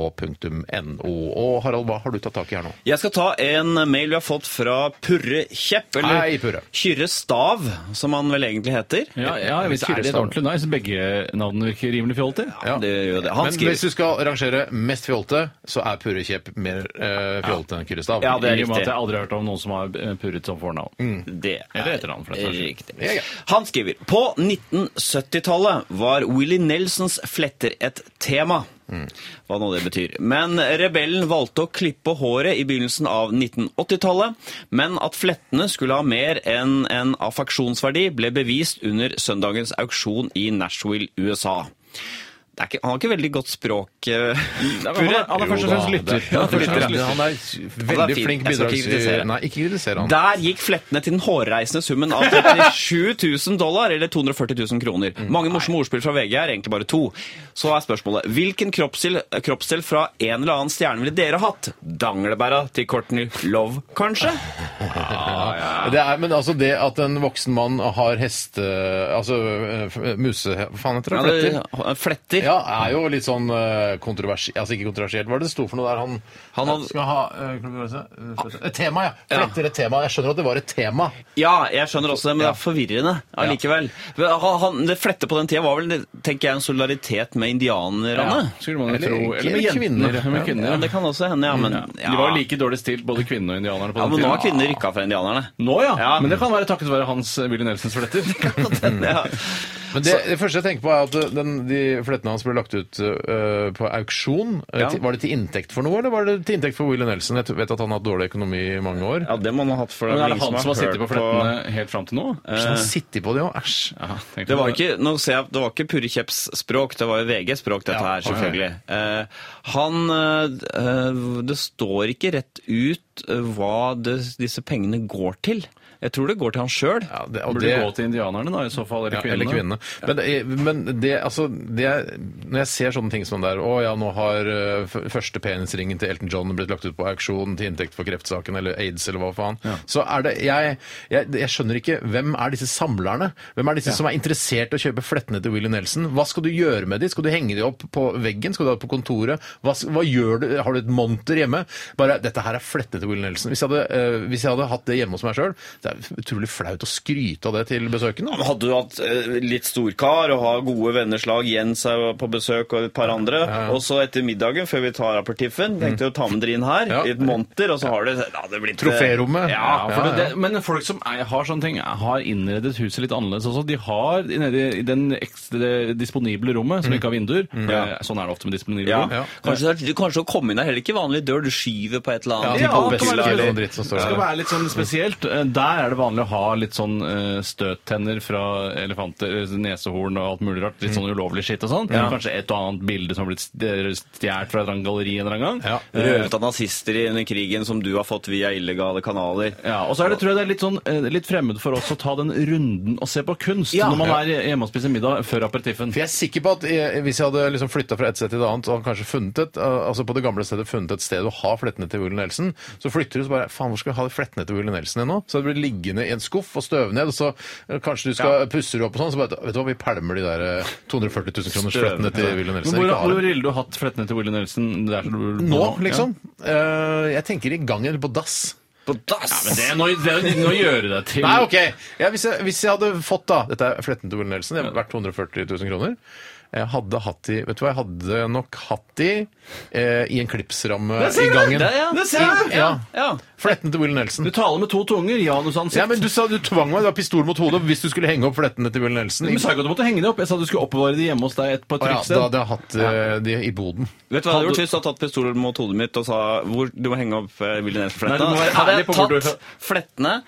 A: rrkrøllalfa.nrk.no. Og Harald, hva har du tatt tak i her nå?
C: Jeg skal ta en mail vi har fått fra Purre Kjepp, eller
A: Hei, Purre.
C: Kyrre Stav, som han vel egentlig heter.
B: Ja, ja hvis det er det et ordentlig navn, så begge navnene virker rimelig fjollete.
A: Ja.
C: Det gjør det. Han
A: Men
C: skriver
A: hvis du skal rangere mest fjolte, så er Purre Kjepp mer eh, fjolte enn Kyrre Stav.
C: Ja, det er
B: I og med
C: riktig.
B: at jeg aldri har hørt om noen som har eh, purret som fornavn.
C: Det
B: Eller etter han, for den saks skyld.
C: riktig.
A: Ja, ja.
C: Han skriver På 1970-tallet var Willy Nelsons fletter et tema.
B: Mm.
C: Hva nå det betyr. Men rebellen valgte å klippe håret i begynnelsen av 1980-tallet. Men at flettene skulle ha mer enn en affeksjonsverdi, ble bevist under søndagens auksjon i Nashville, USA. Det er ikke, han har ikke veldig godt språk, eh,
B: Nei, men Mm, Han
C: Purre.
B: er, han er først og fremst lytter.
A: Ja,
B: Han er først og fremst
A: lytter, ja.
B: lytter.
A: Han er veldig
C: fin.
A: flink
C: Jeg skal ikke kritisere.
A: bidragsyter. Nei, ikke kritiser han.
C: Der gikk flettene til den hårreisende summen av 37 000 dollar, eller 240 000 kroner. Mange morsomme ordspill fra VG er egentlig bare to. Så er spørsmålet hvilken kroppsdel, kroppsdel fra en eller annen stjerne ville dere hatt? Danglebæra til Courtney Love, kanskje?
A: Det er, men altså det at en voksen mann har heste... Altså eh, f- muse... Hva faen heter det? Fletter?
C: Fletter. Fletter.
A: Ja, er jo litt sånn eh, kontroversi... Altså ikke kontroversielt. Hva er det det sto for noe der han,
C: Han hadde-
A: skal ha eh, kontroverse? Eh, fletter. Et tema, ja. Fletter et tema. Jeg skjønner at det var et tema.
C: Ja, jeg skjønner også det, men det er forvirrende allikevel. Han, han, det flette på den tida var vel, tenker jeg, en solidaritet med indianerne.
B: Skulle man jo
A: Eller-
B: tro. Eller med
A: eller
B: jentene.
A: kvinner.
B: Med
C: Ja,
B: kvinner.
C: det kan også hende, ja, men ja.
B: De var jo like dårlig stilt, både kvinnene og indianerne. på
C: Ja,
B: den
C: men nå har
B: tiden.
C: kvinner rykka fra indianerne.
B: Nå, ja.
C: Ja.
B: Men det kan være takket være hans eh, Willy Nelsons fletter.
C: Ja.
A: Men det, det første jeg tenker på er at uh, den, de flettene hans ble lagt ut uh, på auksjon. Uh,
C: Ja.
A: til- Var det til inntekt for noe, eller var det til inntekt for Willy Nelson? Jeg t- vet at han har hatt dårlig økonomi i mange år.
C: Ja, det må han ha hatt for
B: Men
C: er
B: er det
C: ingen
B: han som har sittet
C: hørt
B: på flettene helt fram til nå? Eh,
A: Så han sitter på det òg, æsj.
B: Ja, tenk på
C: Det var ikke, nå ser jeg, det var ikke Purre Kjepps språk, det var jo VGs språk, dette
A: Ja,
C: her, selvfølgelig. Eh, han eh, eh, Det står ikke rett ut eh, hva det, disse pengene går til. Jeg tror det går til han sjøl.
A: Ja, det, og
B: Burde
A: det,
B: gå til indianerne, da, i så fall. Eller
A: ja,
B: kvinnene.
A: eller kvinnene. Men, det, men det, altså, det er, når jeg ser sånne ting som det er Å ja, nå har eh, f- første penisringen til Elton John blitt lagt ut på auksjon til inntekt for kreftsaken eller aids eller hva faen. Så er det jeg, jeg, jeg skjønner ikke Hvem er disse samlerne? Hvem er disse som er interessert i å kjøpe flettene til Willy Nelson? Hva skal du gjøre med de? Skal du henge de opp på veggen? Skal du ha det på kontoret? Hva, s- hva gjør du? Har du et monter hjemme? Bare, dette her er flettene til Willy Nelson. Hvis jeg hadde, eh, hvis jeg hadde hatt det hjemme hos meg sjøl, det er utrolig flaut å skryte av det til besøkende.
C: Men Hadde du hatt eh, litt storkar og har gode venneslag, Jens er jo på besøk og et par andre, og så etter middagen, før vi tar aperitiffen, tenkte jeg å ta med dere inn her,
A: Ja.
C: i et monter, og så har du ja, det blir
A: Troférommet.
C: Ja,
B: Ja, for det, det, men folk som er, har sånne ting, har innredet huset litt annerledes også. De har i- nede i den ekstra disponible rommet, som ikke har vinduer. Eh, Sånn er det ofte med disponible
C: Ja.
B: rom.
A: Ja.
C: Kanskje, det er- kanskje å komme inn er heller ikke vanlig dør, du skyver på et eller annet.
A: Ja,
C: Typ
A: det kan
C: hylla,
A: være
C: eller-
A: litt dritt som står
B: Det skal
A: der.
B: være litt sånn spesielt. Eh, Der er det vanlig å ha litt sånn eh, støttenner fra elefanter, eh, nesehorn og alt mulig rart. Litt
A: Mm.
B: sånn ulovlig skitt og sånn. Kanskje et og annet bilde som har blitt eh, stjålet fra et eller annet galleri en eller annen gang. Eh,
A: Ja.
C: Røvet av nazister i denne krigen som du har fått via illegale kanaler.
B: Ja, og så er det, tror jeg det er litt, sånn, eh, litt fremmed for oss å ta den runden og se på kunst
C: Ja.
B: når man er hjemme og spiser middag før aperitiffen.
A: For jeg er sikker på at eh, Hvis jeg hadde liksom flytta fra et sted til et annet og kanskje funnet et, eh, altså på det gamle stedet funnet et sted å ha flettene til Willy Nelson, så flytter du så bare Faen, hvor skal vi ha de flettene til Willy Nelson igjen nå? Så det blir liggende i en skuff og støve ned, og så eh, kanskje du skal pusse det opp og sånn, så bare Vet du hva, vi pælmer de der eh, 240 000 kroners flettene til Willy
B: Men
A: Nelson.
B: hvor,
A: Ikke ha
B: hvor
A: det.
B: ville du hatt flettene til Willy Nelson? Der du bor
A: Nå, liksom. Eh, Jeg tenker i gangen eller på dass.
C: På dass!
B: Ja. Men det er noe, det er noe å gjøre deg til.
A: Nei, OK! Ja, hvis, jeg, hvis jeg hadde fått da Dette er fletten til Ole Nelson. Det er verdt 240 000 kroner. Jeg hadde hatt de Vet du hva, jeg hadde nok hatt de eh, i en klipsramme i gangen.
C: Det, ja.
B: Det ser du!
A: Ja.
C: Ja.
A: Fletten til Willy Nelson.
B: Du taler med to tunger, janusansikt.
A: Ja, men Du sa du tvang meg. Det var pistol mot hodet hvis du skulle henge opp flettene til Willy Nelson.
B: Du sa ikke at du måtte henge det opp. Jeg sa du skulle oppbevare det hjemme hos deg et- på et
A: Å ja,
B: trygt
A: da
B: sted.
A: hadde jeg hatt eh, de i boden.
C: Vet du hva jeg hadde
B: Hadde-
C: gjort hvis du hadde tatt pistolen mot hodet mitt og sa hvor du må henge opp eh, Willy
B: Nei, du
C: Nelson-fletta?
B: må være
C: Hadde
B: ærlig
C: jeg
B: på hvor
C: tatt flettene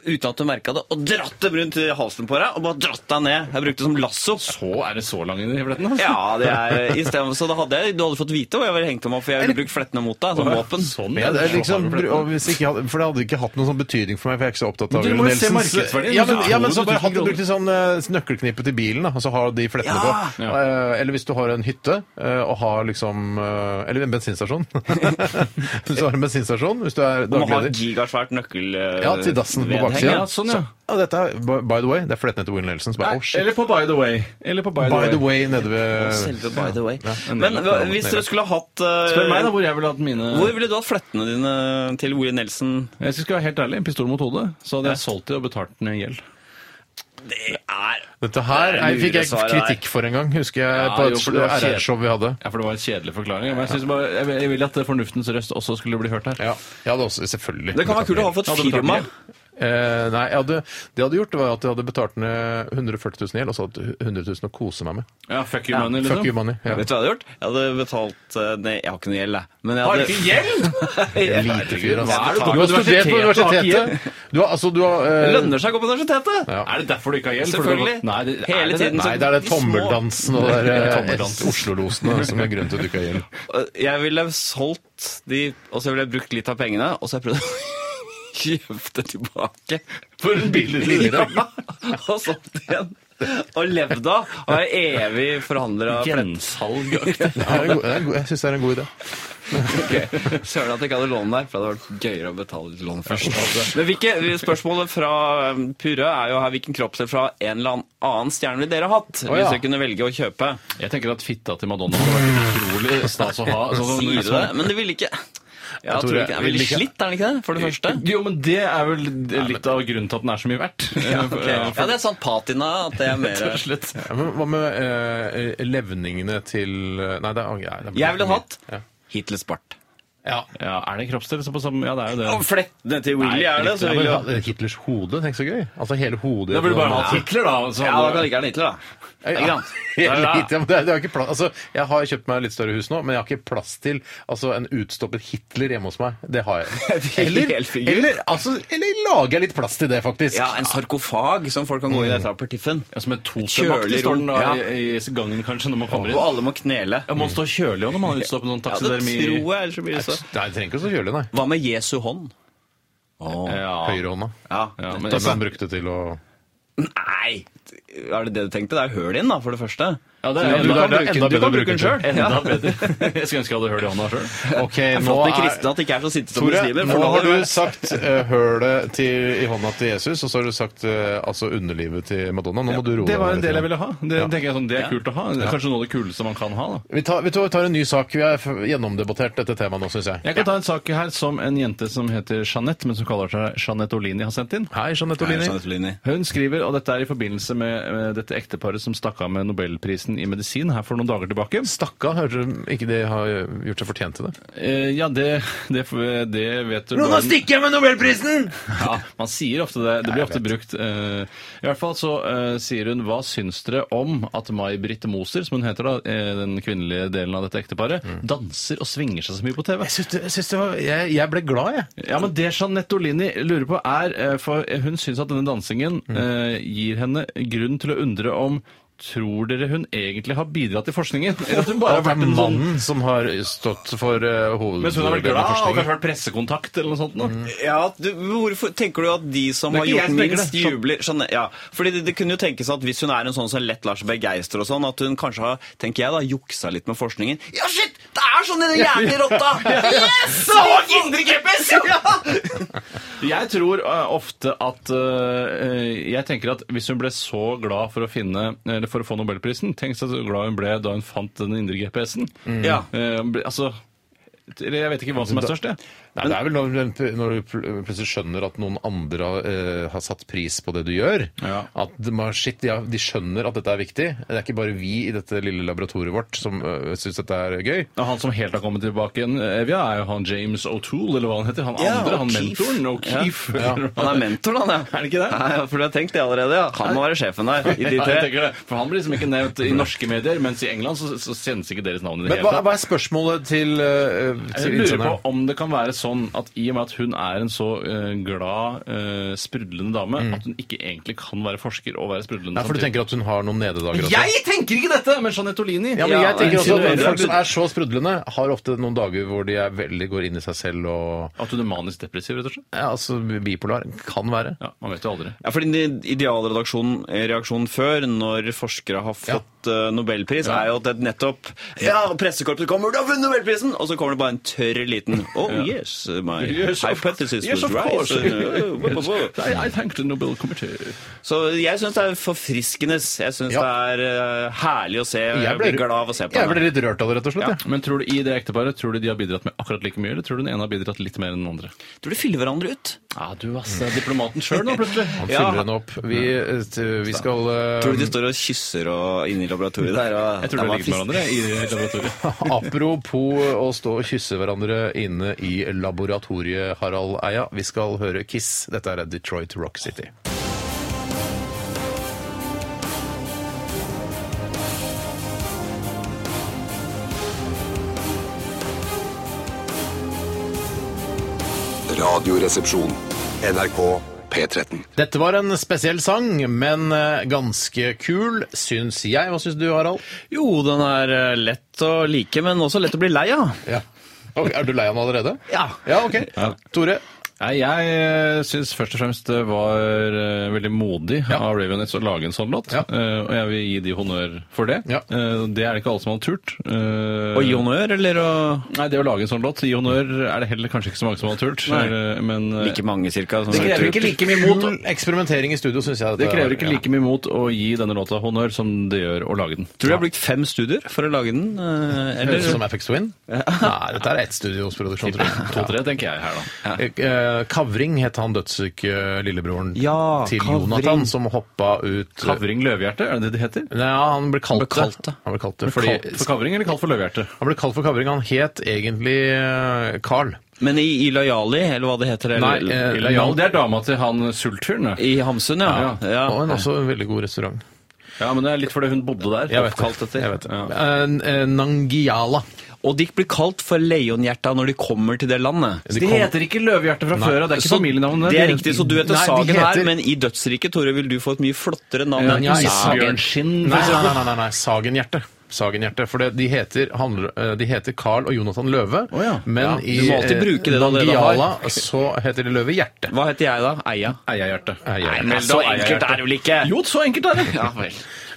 C: uten at du merka det, og dratt dem rundt halsen på deg og bare dratt deg ned. Jeg brukte det som lasso.
B: Så er det så lang i fletten? altså.
C: Ja, det er i stedet, så da hadde jeg, Du hadde fått vite hvor jeg var hengt om, for jeg ville brukt flettene mot deg som våpen.
B: Sånn,
A: Men jeg,
B: så
A: liksom,
B: har du fletten.
A: og hvis ikke, jeg hadde- for det hadde ikke hatt noen sånn betydning for meg, for jeg er ikke så opptatt
B: Men
A: av
B: du
A: Willy
B: må jo se
A: Nelsons-
B: markedsverdien.
A: Ja, men, ja, men
B: Ja,
A: så bare hadde du
B: kroner.
A: brukt en sånn eh, nøkkelknippe til bilen, da, og så har de flettene
C: Ja.
A: på. Eh, Eller hvis du har en hytte, eh, og har liksom eh, Eller en bensinstasjon. hvis du har en bensinstasjon, hvis du er
C: Du må ha et
A: dagleder.
C: gigasvært nøkkel... eh,
A: Ja, til dassen på
C: vedheng,
A: baksiden.
B: ja, sånn, ja.
A: Så- og dette er, by by the way, det er flettene til Willy Nelson. Så bare, oh, shit.
B: Eller på By the Way. Eller på By the
A: By the
B: Way.
A: way, nede ved
C: Selve by the way.
B: en
C: Men
B: del-
C: hva- hvis dere skulle hatt eh,
B: Spør meg da hvor jeg ville hatt mine
C: Hvor ville du hatt flettene dine til Willy Nelson?
B: Jeg skal være helt ærlig, en pistol mot hodet. Så hadde jeg solgt det og betalt den i gjeld.
C: Det er
A: Dette her
C: Det er
A: fikk jeg
C: luresvaret der.
A: kritikk for en gang, husker jeg,
B: Ja,
A: på
B: jo, for det var
A: et
B: kjedelig.
A: RR-show vi hadde.
B: Ja, for det var en kjedelig forklaring. Men jeg, synes bare, jeg, jeg vil at fornuftens røst også skulle bli hørt her.
A: Ja, jeg hadde også, selvfølgelig.
C: Det kan være kult å ha fått
B: Ja, det betalte
C: firma.
B: jeg.
A: Eh, nei, jeg hadde, det jeg hadde gjort, var at jeg hadde betalt ned 140 000 gjeld, og så hadde jeg 100 000 å kose meg med.
B: Ja, fuck you money, liksom.
A: Fuck you money. Ja.
C: Vet du hva jeg hadde gjort? Jeg hadde betalt eh, Nei, jeg har ikke noe gjeld, jeg. Men jeg
B: Har du
C: hadde,
B: ikke gjeld?!
A: Jeg er lite fyr,
B: Hva er det du går
A: altså. Du
B: på
A: har studert på
B: universitetet og har ikke
A: universitetet. Du har, altså, du har
C: Det
A: eh,
C: lønner seg å gå på universitetet!
A: Ja.
B: Er det derfor du ikke har gjeld? For
C: Selvfølgelig.
B: du har- Nei, det,
C: Hele
B: er det
C: tiden
B: det?
A: Nei, det er den tommeldansen og det
B: Ja,
A: der, eh,
B: tommeldansen.
A: Oslo-losene som er grunnen til at du ikke har gjeld.
C: Jeg ville solgt de, og så ville jeg brukt litt av pengene, og så har jeg prøvd å kjøpe det tilbake.
B: For en billig
C: Ja, og solgt det igjen. Og levd av. Og er evig forhandler av
B: gjensalg.
A: Det er en god- det er en god- Jeg syns det er en god idé.
C: flettene. Søren at jeg ikke hadde lån der, for det hadde vært gøyere å betale litt lån først. Men hvilke, spørsmålet fra um, Purre er jo her hvilken kroppsdel fra en eller annen stjerne ville dere hatt?
A: ja.
C: Hvis dere kunne velge å kjøpe.
B: Jeg tenker at fitta til Madonna hadde vært utrolig stas å ha. Sånn, som-
C: Sier du det? Men det ville ikke Ja,
A: tror
C: tror
A: jeg-
C: ikke. Det er veldig
A: vil ikke-
C: slitt, er den ikke det? For det første.
B: Jo, men det er vel litt av grunnen til at den er så mye verdt. Ja,
C: Ja, det er sånn patina at det er mer
B: Slett.
A: Ja, men hva med eh, levningene til Nei, det er, nei, det er
C: Jeg ville hatt
A: Ja.
C: Hitlers bart.
A: Ja.
B: Ja, er det en kroppsdel? Så på samme, ja, det er jo det.
C: Flettene til Willy
B: Nei,
C: er det,
B: riktig.
C: så
A: Ja,
C: vil jo
A: men Hitlers hode, tenk så gøy. Altså hele hodet
B: Da burde du bare hatt Hitler, da. Så
C: Ja, da
B: hadde-
C: kan ikke være Hitler, da.
A: Ja,
C: Ikke sant?
A: helt
C: Ja, ja.
A: riktig. Men det er- det er ikke plass. Altså, jeg har kjøpt meg litt større hus nå, men jeg har ikke plass til altså, en utstoppet Hitler hjemme hos meg. Det har jeg. Eller,
C: Helfigur.
A: eller, altså, eller lager jeg litt plass til det, faktisk.
C: Ja, en sånn sarkofag som folk kan gå i etter apertiffen.
B: Ja, som et
C: Kjølig
B: totemakt står den da
C: rom, ja.
B: i, i gangen, kanskje, når man kommer
C: Og
B: inn.
C: alle må knele.
B: Ja, man står kjølig også når man er utstoppet sånn
C: Ja, det tror
B: taksidermi.
C: jeg, ellers så blir det så
A: Nei, det trenger ikke å så kjølig, nei.
C: Hva med Jesu hånd? Eh,
B: Ja.
A: Høyrehånda.
C: Ja. altså,
B: Ja, men-
A: Det er det han brukte til å
C: sånn- Nei! Er det det du tenkte? Det er høl i den, da, for det første.
B: Ja, det er
A: Ja, du
B: enda,
A: kan bruke-
B: enda
A: du
B: bedre
A: kan
B: å
A: bruke
B: bruke den sjøl.
A: den
B: Enda bedre. Jeg skulle ønske jeg hadde hørt i hånda sjøl.
A: Ok,
C: Det er
A: nå
C: flott med
A: er
C: kristne at de ikke er så sinte som
A: Tore,
C: muslimer.
A: nå
C: for da
A: har
C: hadde
A: du
C: det vært-
A: sagt eh, hølet til, i hånda til Jesus, og så har du sagt eh, altså underlivet til Madonna. Nå må du roe
B: Det var en
A: litt
B: del jeg ville
A: grann.
B: ha. Det tenker jeg sånn, det er kult å ha. Det er kanskje noe av det kuleste man kan ha. da.
A: Vi tar, vet du hva, vi tar en ny sak. Vi har f- gjennomdebattert dette temaet nå, syns jeg.
B: Jeg kan ta en sak her som en jente som heter Jeanette, men som kaller seg Jeanette Olini, har sendt inn.
A: Hei, Jeanette
C: Nei,
A: Olini.
C: sånn et linje.
B: Hun skriver, og dette er i forbindelse med eh, dette ekteparet som stakk av med Nobelprisen i medisin her for noen dager tilbake.
A: Stakka, hørte du ikke de har gjort seg fortjent til det?
B: Eh, ja, det, det, det vet du
C: Nå, nå
B: bare-
C: stikker jeg med Nobelprisen!
B: Ja, man sier ofte det. Det blir ofte brukt. eh, I hvert fall så eh, sier hun hva syns dere om at May-Britt Moser, som hun heter, da, eh, den kvinnelige delen av dette ekteparet,
C: Mm.
B: danser og svinger seg så mye på TV?
A: Jeg, synes det, jeg, synes det var, jeg, jeg ble glad, jeg.
B: Ja, men Det Jeanette Olini lurer på, er eh, For hun syns at denne dansingen
A: Mm.
B: eh, gir henne grunn til å undre om Tror dere hun egentlig har bidratt i forskningen? Eller at hun bare har vært en sånn
A: mannen som har stått for uh,
B: Mens hun har vært glad og
A: hoveddelen av
B: kanskje
A: forskningen. Mm.
B: vært pressekontakt eller noe sånt? nå.
C: Ja, du, hvorfor tenker du at de som
B: Det er
C: har
B: ikke jeg
C: gjort
B: som tenker
C: minst,
B: det. Sånn.
C: jubler? Sånn, ja. Fordi det, det kunne jo tenkes at hvis hun er en sånn som lett lar seg begeistre og sånn, at hun kanskje har, tenker jeg da, juksa litt med forskningen. Ja, shit! Det er sånn i den jævlig rotta! Yes! Det var kindergeppes!
B: Jeg tror eh, ofte at eh, Jeg tenker at hvis hun ble så glad for å finne Eller for å få Nobelprisen Tenk seg så glad hun ble da hun fant den indre GPS-en.
A: Mm.
C: Ja.
B: Eh, ble- altså eller Jeg vet ikke
A: Altså,
B: hva som er størst, jeg.
A: Nei, det er vel når, du- når du pl- plutselig skjønner at noen andre har, eh, har satt pris på det du gjør.
B: Ja.
A: At de, har- shit, de, har, de skjønner at dette er viktig. Det er ikke bare vi i dette lille laboratoriet vårt som uh, syns dette er gøy.
B: Og han som helt har kommet tilbake igjen, Evja, er jo han James O'Toole, eller hva han heter. Han
C: Ja,
B: andre, han
C: O'Keefe.
B: mentoren. O'Keefe. eller hva
C: Han er mentor, han, ja.
B: Er det ikke det?
C: Nei, for du har tenkt det allerede, ja. Han må være sjefen der, i de
B: Ja, jeg
C: tre.
B: tenker det. For han blir liksom ikke nevnt i norske medier, mens i England så, så kjennes ikke deres navn i det
A: Men
B: hele
A: hva,
B: tatt.
A: hva er spørsmålet til, eh, til
B: Jeg lurer
A: innsenderen?
B: på om det kan være sånn at i og med at hun er en så eh, glad, eh, sprudlende dame, at hun ikke egentlig kan være forsker og være sprudlende
A: Mm. Nei, for du
B: samtidig.
A: tenker at hun har noen nededager også?
B: Jeg tenker ikke dette! Men Jeanette Olini
A: Ja, men jeg tenker også at
B: insinuerer
A: Folk som er så sprudlende, har ofte noen dager hvor de er veldig går inn i seg selv og
B: at hun er manisk depressiv, rett og slett.
A: ja, altså bipolar. Kan være.
B: Ja, Man vet jo aldri.
C: Ja, fordi den idealreaksjonen reaksjonen før, når forskere har fått eh, nobelpris, er jo at det nettopp Ja, pressekorpset kommer, du har vunnet nobelprisen! Og så kommer det bare en tørr liten Oh yes, my
B: Yes, of-
C: hypothesis
B: yes,
C: was
B: of course.
C: right.
B: I, I thank the Nobel Committee.
C: så jeg syns det er forfriskende. Jeg syns
A: Ja.
C: det er eh, herlig å se. Jeg blir glad av å se på
A: jeg ble
C: henne.
A: litt rørt av det, rett og slett. jeg.
B: Men tror du i det ekteparet tror du de har bidratt med akkurat like mye, eller tror du den ene har bidratt litt mer enn den andre?
C: Tror du fyller hverandre ut?
B: Ja, du ass, er diplomaten sjøl nå, plutselig.
A: Han
C: Ja.
A: fyller henne opp. Vi, eh, t- vi skal eh,
C: Tror du de står og kysser og inne i laboratoriet der? Og,
B: Um, Jeg tror
C: Nei,
B: de
C: man
B: ligger med hverandre
C: fisker.
B: i laboratoriet.
A: Apropos å stå og kysse hverandre inne i laboratoriet, Harald Eia. Vi skal høre Kiss. Dette er Detroit Rock City.
H: Radioresepsjon.
D: NRK P13.
A: Dette var en spesiell sang, men eh, ganske kul, syns jeg. Hva syns du, Harald?
C: Jo, den er eh, lett å like, men også lett å bli lei av.
A: Ja. Ok, er du lei av den allerede?
C: Ja.
A: Ja, ok. Tore?
B: Nei, jeg syns først og fremst det var eh, veldig modig av Raveonettes å lage en sånn låt.
A: Ja.
B: eh, og jeg vil gi de honnør for det.
A: Ja.
B: Eh, det er det ikke alle som hadde turt. Eh,
C: Å gi honnør, eller å
B: Nei, det å lage en sånn låt, gi honnør, er det heller kanskje ikke så mange som hadde turt.
C: Nei.
B: eh, men, eh,
C: Like mange, cirka. Som
B: Det krever ikke like mye mot.
A: Kul eksperimentering i studio, syns jeg. at
B: det krever
A: var.
B: ikke
A: Ja.
B: like mye mot å gi denne låta honnør som det gjør å lage den.
C: Tror du jeg har brukt fem studier for å lage den? eh,
A: Høres ut
C: Eller?
A: som FX Twin? Nei, dette er ett studios produksjon, tror jeg.
B: To-tre, tenker jeg her, da.
A: Eh, Kavring het han dødssyke eh, lillebroren
C: Ja,
A: til
C: Kavring.
A: Jonathan, som hoppa ut
B: Kavring løvhjerte, er det det det heter?
A: Nei, ja, han ble kalt,
C: Han ble kalt
A: det.
C: det.
A: Han ble kalt det
B: Fordi...
A: fordi
B: for kavring eller kalt for løvhjerte?
A: han ble kalt for Kavring. Han het egentlig eh, Carl.
C: Men i Ilajali, eller hva det heter? Eller,
A: Nei, eh,
B: Eller, ja, det er dama til han sultfyren.
C: I Hamsun, ja.
B: Ja.
C: ja.
A: Og en også en veldig god restaurant.
B: Ja, men det er litt fordi hun bodde der.
A: Jeg vet
B: oppkalt
A: det.
B: etter.
A: Jeg vet det.
B: Ja.
A: Eh, eh, Nangiala.
C: Og de blir kalt for leonhjerta når de kommer til det landet.
B: De
A: De kom-
B: heter ikke Løvehjerte fra før av. Det er ikke
C: Så
B: familienavnet.
C: Det er riktig, så du heter
A: Nei, de
C: Sagen
A: heter-
C: her, men i dødsriket, Tore, vil du få et mye flottere navn.
B: Ja,
C: enn
B: ja,
C: Sagen.
B: Isbjørnskinn, for
A: Nei, nei,
B: eksempel.
A: nei, nei, nei, Sagenhjerte. Sagen-hjerte. For det- de heter, handler, eh, de heter Carl og Jonathan Løve,
B: Å ja.
C: Ja,
A: men
C: du må alltid
A: i
C: bruke det du allerede
A: Nangiala
C: har.
A: så heter de Løve Hjerte.
C: Hva heter jeg da? Eia?
B: Eierhjerte.
A: Eier.
C: Nei, så enkelt er det vel ikke?
B: Jo, så enkelt er det!
C: Ja vel.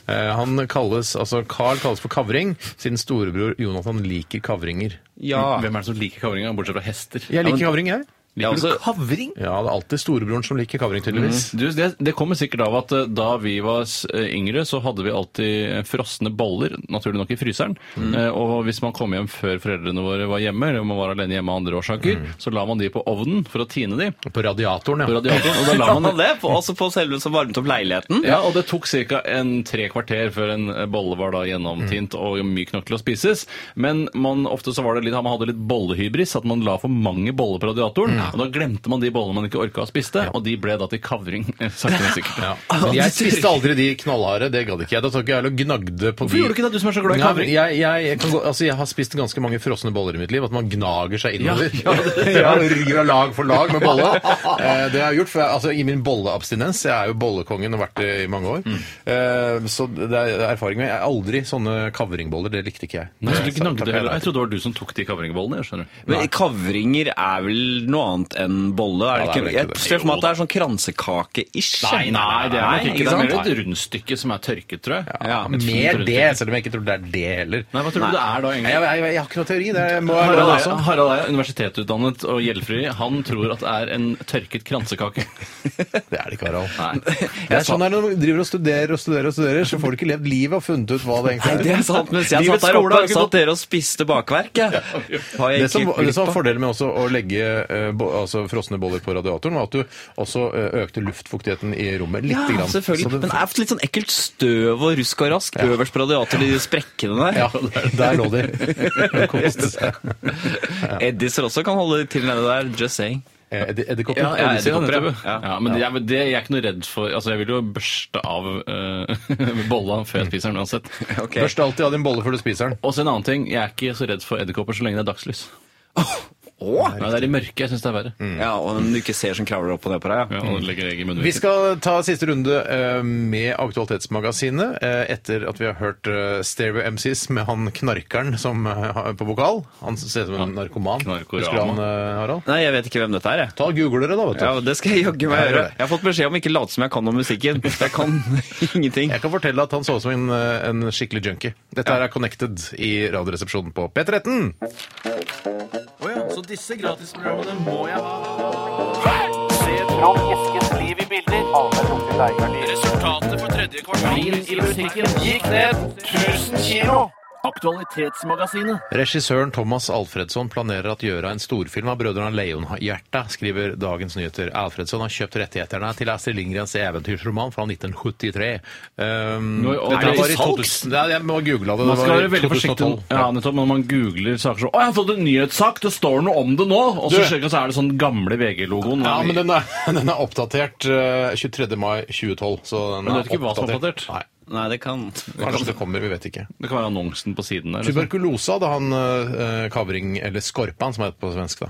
A: Eh, Han kalles, altså Carl kalles for Kavring, siden storebror Jonathan liker kavringer.
C: Ja.
B: Hvem er det som liker kavringa, bortsett fra hester?
A: Jeg liker kavring, jeg.
C: Ja, altså,
B: Kavring?
A: Ja, det er alltid storebroren som liker kavring, tydeligvis.
B: Du, det, det kommer sikkert av at eh, da vi var s- eh, yngre, så hadde vi alltid eh, frosne boller, naturlig nok i fryseren.
A: Mm.
B: Eh, Og hvis man kom hjem før foreldrene våre var hjemme, eller man var alene hjemme av andre årsaker,
A: Mm.
B: så la man de på ovnen for å tine de.
A: På radiatoren, ja.
B: På radiatoren, og da la
C: la
B: man
C: man det? På, også på selve som varmet opp leiligheten?
B: Ja, og det tok ca. tre kvarter før en eh, bolle var da
A: Mm.
B: gjennomtint og myk nok til å spises. Men man, ofte så var det litt, man hadde litt bollehybris, at man la for mange boller på radiatoren. Og da glemte man de bollene man ikke orka å spiste, og de ble da til kavring. eh, Sakte, men sikkert.
A: Ja. Men jeg Altså, spiste aldri de knallharde, det gadd ikke jeg. Da tok jeg og gnagde på de
B: Hvorfor gjorde du ikke det, du som er så glad i
A: Nei,
B: kavring?
A: Jeg, jeg, jeg, kan gå, altså, jeg har spist ganske mange frosne boller i mitt liv. At man gnager seg innover.
B: Ja, ja, det-
A: Jeg har rygger av lag for lag med bolle. Eh, Det har jeg gjort for jeg, altså, i min bolleabstinens. Jeg er jo bollekongen og har vært det i mange
B: Mm.
A: år. Eh, Så det er erfaring med. Jeg er aldri sånne kavringboller. Det likte ikke jeg.
B: Nei, så
A: Det
B: du
A: sa-
B: gnagde
A: takk,
B: heller.
A: nei.
B: Jeg trodde det var du som tok de kavringbollene. jeg skjønner.
C: Men Kavringer er vel noe annet enn bolle? Er
A: Ja, det er
C: det ikke?
A: vel ikke det.
C: Jeg ser for meg at det er sånn kransekake-ish.
B: det er nok ikke det.
C: sant?
B: er mer et rundstykke som er tørket, tror jeg.
A: Ja,
B: Et fint
A: mer
B: rundstykke.
A: det, selv om jeg ikke tror det er det heller.
B: Nei, hva tror du det er da,
A: Nei,
B: egentlig?
A: Jeg, jeg, jeg har ikke noe teori. Det må jeg
B: Harald
A: love
B: Eia,
A: også.
B: Harald Eia, universitetsutdannet og gjeldfri, han tror at det er en tørket kransekake.
A: Det er det ikke, Harald.
B: Nei.
A: Det er sånn her når du driver og studerer og studerer, og studerer, så får du ikke levd livet og funnet ut hva det
C: Nei,
A: egentlig
C: det
A: er.
C: er sant. Mens jeg
A: Livets
C: satt der
A: skole
C: oppe,
A: har ikke
C: satt dere og spiste bakverk. Ja. Har jeg
A: Det som,
C: egentlig
A: det som var
C: glipp av.
A: fordelen med også å legge eh, bo, altså frosne boller på radiatoren, var at du også eh, økte luftfuktigheten i rommet litt.
C: Ja,
A: grann. Så
C: selvfølgelig.
A: det-
C: Men det er litt sånn ekkelt støv og rusk og rask øverst på radiatoren i de sprekkene der.
A: ja, der lå de. Koste seg.
C: Eddiser også kan holde til nede der. Just saying.
A: Eh, eddi- Edderkopper.
B: Ja,
C: ja,
B: edderkopper,
C: edderkopper,
B: ja.
C: ja.
B: ja, men jeg, det, jeg er ikke noe redd for Altså, jeg vil jo børste av eh, bolla før jeg spiser den uansett.
C: Ok.
A: Børst alltid av din bolle før du spiser den.
B: Og så en annen ting, jeg er ikke så redd for edderkopper så lenge det er dagslys. Nei, det er Mm. i mørket jeg syns det er verre.
C: Ja, og den du ikke ser som kravler opp og ned på deg.
B: Ja, og legger egg i munnviken.
A: Vi skal ta siste runde eh, med Aktualitetsmagasinet eh, etter at vi har hørt eh, Stereo MCs med han knarkeren som, eh, har- på vokal. Han ser ut som en narkoman.
B: Knarkorama.
A: Husker du han, eh, Harald?
C: Nei, jeg vet ikke hvem dette er, jeg.
A: Ta og Google dere, da. vet du.
C: Ja, Det skal jeg jaggu
A: Ja,
C: meg
A: gjør
C: gjøre.
A: det.
C: Jeg har fått beskjed om ikke å late som jeg kan om musikken. Jeg kan ingenting.
A: Jeg kan fortelle at han så ut som en, eh, en skikkelig junkie. Dette her er Connected i Radioresepsjonen på P13.
I: Å ja, så disse gratisprogrammene må jeg ha. Resultatet på tredje kvartal i musikken gikk ned 1000 kilo. Aktualitetsmagasinet.
A: Regissøren Thomas Alfredsson planerer at gjøre en storfilm av brødrene Leonhjerta, skriver Dagens Nyheter. Alfredsson har kjøpt rettighetene til Astrid Lindgrens eventyrsroman fra 1973. Um,
B: Nå, og
A: dette
B: det er
A: var i
B: salgs?
A: 2000 Nei, jeg må google det.
B: Man skal være
A: det var i
B: veldig forsiktig
A: 2012.
B: ja, nettopp, når man googler saker så, 'Å, jeg har fått en nyhetssak! Det står noe om det nå!' Og så
A: Du-
B: sjekker man, så er det sånn gamle VG-logoen.
A: Ja, men den er, den er oppdatert eh, 23. mai 2012. Så
B: Men
A: den
B: du
A: er
B: vet ikke hva som er oppdatert?
A: Nei,
C: Nei, det kan
A: kanskje det kommer, vi vet ikke.
B: Det kan være annonsen på siden der. Liksom.
A: Tuberkulose hadde han eh, Kavring, eller Skorpan som heter på svensk da.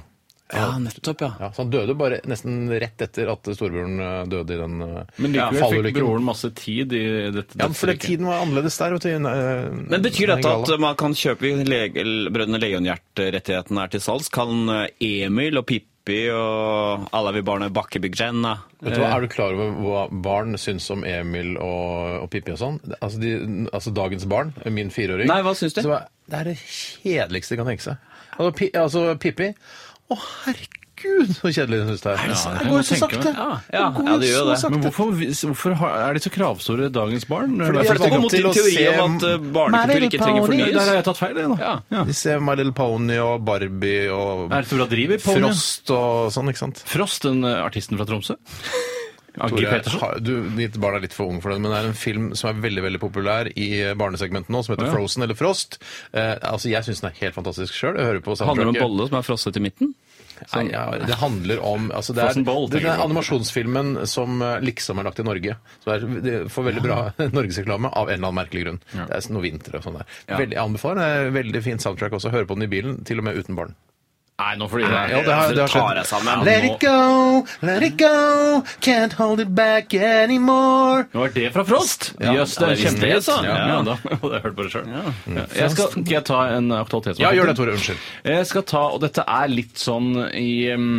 C: Ja, nettopp, ja.
A: Ja, så han døde bare nesten rett etter at storebroren eh, døde i den eh,
B: Men likevel fikk
A: fallulykken.
B: broren masse tid i dette
A: Ja, for det,
B: dødsriket.
A: tiden var annerledes der, vet du. i, eh,
C: Men betyr dette
A: Bengala.
C: at eh, man kan kjøpe lege- eller Brødrene Leonhjert-rettighetene er til salgs? Kan eh, Emil og Pippi og alle vi barna i eh, Bakkebygdjen
A: Vet du hva, Er du klar over hva barn syns om Emil og, og Pippi og sånn? Altså, de, altså dagens barn, min fireåring
C: Nei, hva syns de?
A: så er- Det er det kjedeligste de kan tenke seg. Altså, pi, altså Pippi Å, herregud, så kjedelig hun syns det er.
B: sant?
A: det går jo
B: Jeg
A: så
B: tenker meg-
A: sakte.
B: Ja,
C: ja,
A: går
C: ja, det gjør
A: så
C: det.
A: sakte.
B: Men hvorfor, hvorfor har- er de så kravstore, dagens barn?
A: Fordi
B: Det er
A: jeg
B: fordi-
A: er vant
C: mot din
A: til å
C: teori
A: se-
C: om at eh, barnekultur ikke trenger
B: Der har
C: fornyes?
B: jeg tatt feil, jeg, da.
C: Ja.
B: Ja.
A: De ser My Little Pony og Barbie og
B: Er det Tora Driver på den, ja?
A: Frost og sånn, ikke sant?
B: Frost, den eh, artisten fra Tromsø? Agge
A: Tore,
B: Pettersen?
A: har- du, ditt barn er litt for ung for den, men det er en film som er veldig veldig populær i barnesegmentet nå, som heter
B: Å, ja.
A: Frozen eller Frost. Eh, altså, Jeg syns den er helt fantastisk sjøl. Jeg hører på
C: Handler det om
A: soundtracket.
C: en bolle som er frosset i midten?
A: Nei, ja, det handler om altså Det er
B: sånn. Frozen Ball,
A: det er
B: tenker
A: den
B: du på.
A: animasjonsfilmen som eh, liksom er lagt i Norge. Så det er, det får veldig bra norgesreklame av en eller annen merkelig grunn. Det sånn er noe vinter og sånn der. Veldig, jeg anbefaler den. Det er Veldig fint soundtrack også. Hører på den i bilen, til og med uten barn.
B: Nei, nå får du gi deg.
A: Ja, det har, det har
C: tar
A: skjedd.
C: jeg sammen.
A: Let it go, let it go, can't hold it back anymore.
B: Nå er det fra Frost!
A: Ja.
B: Jøss, det er
C: Ja, det visste jeg,
B: kjempehit, da.
C: altså.
B: Ja,
C: Ja.
B: da. Jeg hadde hørt på det selv. Jeg skal, skal jeg ta en aktualitet?
A: Ja, gjør det, Tore. Unnskyld.
B: Jeg skal ta, og dette er litt sånn i um,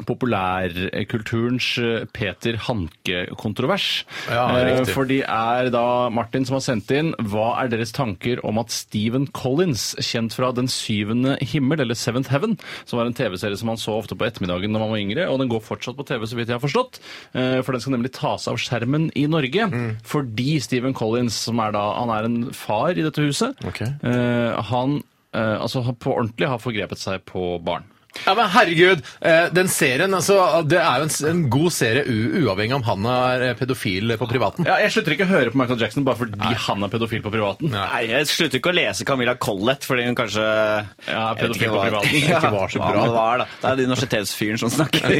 B: populærkulturens eh, Peter Hanke-kontrovers.
A: Ja,
B: Eh,
A: riktig.
B: for de er da Martin som har sendt inn Hva er deres tanker om at Stephen Collins, kjent fra Den syvende himmel, eller Seventh Heaven, som var en TV-serie som han så ofte på ettermiddagen når man var yngre, og den går fortsatt på TV, så vidt jeg har forstått, eh, for den skal nemlig tas av skjermen i Norge, fordi Stephen Collins, som er da Han er en far i dette huset.
A: Ok.
B: Eh, han eh, altså han på ordentlig har forgrepet seg på barn.
A: Ja, men herregud, eh, den serien, altså, det er jo en, s- en god serie u uavhengig om han er eh, pedofil på privaten.
B: Ja, jeg slutter ikke å høre på Michael Jackson bare fordi han er pedofil på privaten.
C: Nei, jeg slutter ikke å lese Camilla Collett fordi hun kanskje
B: Ja,
C: Jeg vet
B: pedofil
C: ikke
B: på
C: hva-
B: privaten.
C: Ja,
A: Ikke var så
C: hva
A: bra.
C: det var, da. Det er de universitetsfyren som snakker.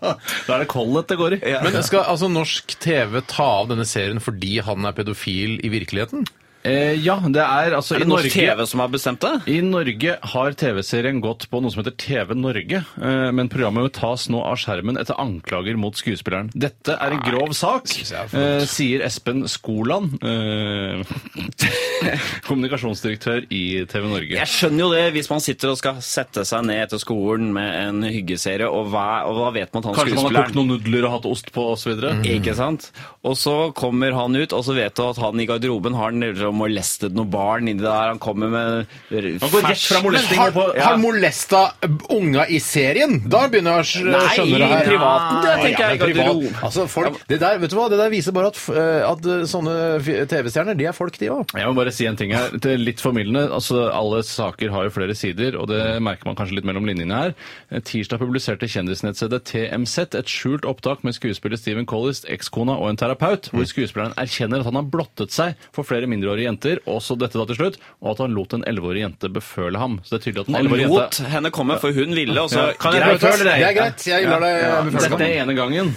B: Da er det Collett det går i.
C: Ja.
A: Men skal altså norsk TV ta av denne serien fordi han er pedofil i virkeligheten?
B: Eh, ja, det er altså
C: Er det
B: i Norge
C: norsk TV som har bestemt det?
B: I Norge har TV-serien gått på noe som heter TV Norge, eh, men programmet tas nå av skjermen etter anklager mot skuespilleren. Dette er en grov sak,
A: jeg er for
B: eh, sier Espen Skoland, eh, kommunikasjonsdirektør i TV Norge.
C: Jeg skjønner jo det, hvis man sitter og skal sette seg ned etter skolen med en hyggeserie, og hva, og hva vet man at han
B: Kanskje man har kokt
C: skuespilleren
B: noen nudler og hatt ost på osv.
C: Ikke sant? Og så kommer han ut, og så vet du at han i garderoben har han molestet noen barn inni der. Han kommer med
B: Han går rett fra molesting
A: Har,
B: på
A: har molesta eh, unga i serien? Da begynner jeg å
C: Nei,
A: sk- skjønne det her.
C: privaten, det
A: Ja,
C: tenker jeg,
A: men privat-
C: garderoben.
A: Altså, folk, det, der, vet du hva? det der viser bare at, f- eh, at eh, sånne f- TV-stjerner, de er folk, de òg.
B: Jeg må bare si en ting her. Det er litt formildende. Altså, alle saker har jo flere sider, og det merker man kanskje litt mellom linjene her. Eh, Tirsdag publiserte kjendisnettstedet TMZ et skjult opptak med skuespiller Stephen Collis, ekskona og en terapeut, hvor skuespilleren erkjenner at han har blottet seg for flere mindreårige jenter, også dette da til slutt, og at han lot en 11-årig jente beføle ham. Så det er tydelig at en
C: Han
B: 11-årig
C: lot
B: jente
C: henne komme, for hun ville, og så
B: Ja. Kan jeg
C: Greit.
B: prøve Beføler
A: Det
B: deg.
A: er greit. Jeg lar deg eh, beføle
B: Dette
A: deg.
B: er ene gangen.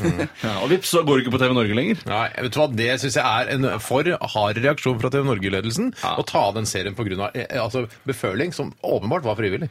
B: Ja, og vips, så går du ikke på TV Norge lenger.
A: Nei, vet du hva? Det syns jeg er en for hard reaksjon fra TV Norge-ledelsen. Å ta av den serien pga. altså, beføling, som åpenbart var frivillig.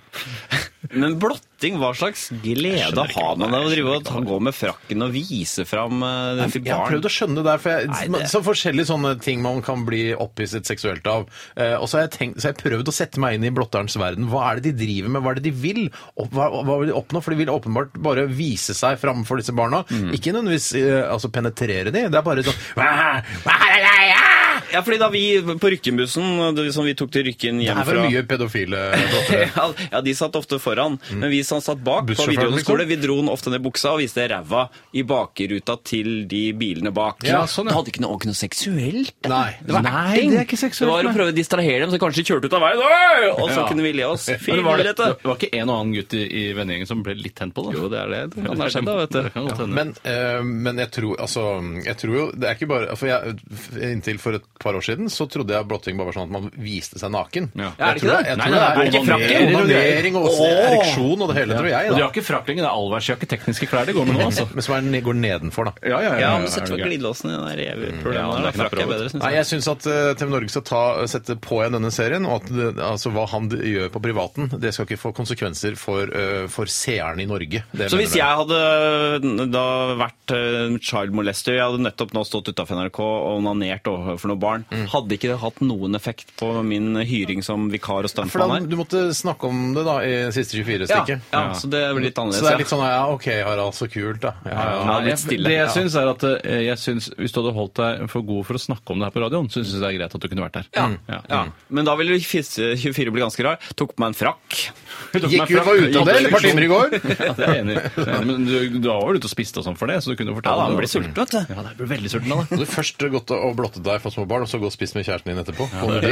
C: Men blotting, hva slags glede
B: ikke
C: har man
B: det,
C: av å
B: jeg
C: drive
B: skjønner
C: og ta, gå med frakken og vise fram eh, det til
A: Jeg har
C: barn?
A: prøvd å skjønne det der, for jeg,
C: Nei, det-
A: så forskjellige sånne ting man kan bli opphisset seksuelt av. Eh, og så har jeg, tenkt, så har jeg prøvd å sette meg inn i blotterens verden. Hva er det de driver med? Hva er det de vil? Og hva, hva vil de oppnå? For de vil åpenbart bare vise seg framfor disse barna. Ikke nødvendigvis eh, altså penetrere de. Det er bare sånn hva, hva er det jeg er?
C: Ja, fordi da vi på Rykkenbussen, det som vi tok til Rykken
A: Det
C: hjem
A: er
C: fra
A: vel mye pedofile blottere.
C: ja, ja, de satt ofte foran,
B: Mm.
C: men vi som satt bak på
A: Bussjåføren,
C: videregående skole,
A: liksom?
C: vi dro den ofte ned buksa og viste ræva i bakruta til de bilene bak.
A: Ja, sånn, ja.
C: Det hadde ikke noe, ikke noe seksuelt. da.
A: Nei.
C: det var
B: Nei,
C: acting.
B: det er ikke seksuelt,
C: Det var
B: nei.
C: å prøve å distrahere dem, så kanskje de kjørte ut av veien, Oi! og så
B: Ja.
C: kunne vi le oss.
B: Men det, var det,
C: Filete!
B: det var ikke en og annen gutt i, i vennegjengen som ble litt tent på det? Jo, det er det. Det
C: kan ha skjedd, da, vet du.
B: kan godt hende.
A: Men, eh, men jeg tror altså, jeg tror jo Det er ikke bare for jeg, Inntil for et par år siden så trodde jeg blotting bare var sånn at man viste seg naken.
B: Ja.
A: Jeg
C: Er det
A: tror
C: ikke det?
A: Jeg
B: Nei,
A: tror
B: nei, det er
A: det
B: ikke
A: er
B: frakker.
A: onanering, onanering og også
C: Åh!
A: ereksjon og det hele, tror
B: Og
A: jeg.
B: de
A: da.
B: har ikke frakk lenger. Det er allværsjakke, tekniske klær. Det går med nå, altså.
A: Men som er, den går nedenfor, da.
B: Ja, ja, Mm,
C: Ja, men sett for glidelåsen i den der
B: Ja,
C: reveproblemet
B: det er
C: der. da.
B: knapper
C: Frakk er
B: over.
C: bedre, synes jeg.
A: Nei, jeg syns at eh, TV Norge skal ta, sette på igjen denne serien, og at det, altså, hva han d- gjør på privaten, det skal ikke få konsekvenser for, eh, for seeren i Norge. Det
C: Så
A: mener
C: hvis jeg hadde da vært eh, child molester, jeg hadde nettopp nå stått utafor NRK og onanert overfor noen barn, hadde ikke det hatt noen effekt på min hyring som vikar og
A: For da,
C: stuntmann her?
A: du måtte snakke om det da i siste
C: Ja,
A: 24-stykket.
C: ja, så det blir litt
A: Så
C: annerledes.
A: det er litt
C: ja.
A: sånn ja, OK, Harald, så kult, da. Ja, ja.
C: Ja,
B: Jeg,
C: litt stille.
B: det jeg
C: Ja.
B: synes er at eh, jeg synes, Hvis du hadde holdt deg for god for å snakke om det her på radioen, så syns jeg det er greit at du kunne vært der.
C: Ja.
B: Ja.
C: Ja.
A: Mm.
C: Men da ville 24 bli ganske rar. Tok på meg en frakk.
A: Gikk ut, var ute av det et par timer i går.
B: liksom- Ja, det er jeg enig. i. Det er jeg enig. i. Men du, du var vel ute og spiste og sånn for det, så du kunne jo
C: Ja,
B: fortelle
C: da,
B: om
C: man
B: det.
C: blir sulten, vet du.
B: Ja, det blir veldig sulten av det.
A: Hadde du først gått og blottet deg for små barn, og så gå og spist med kjæresten din etterpå?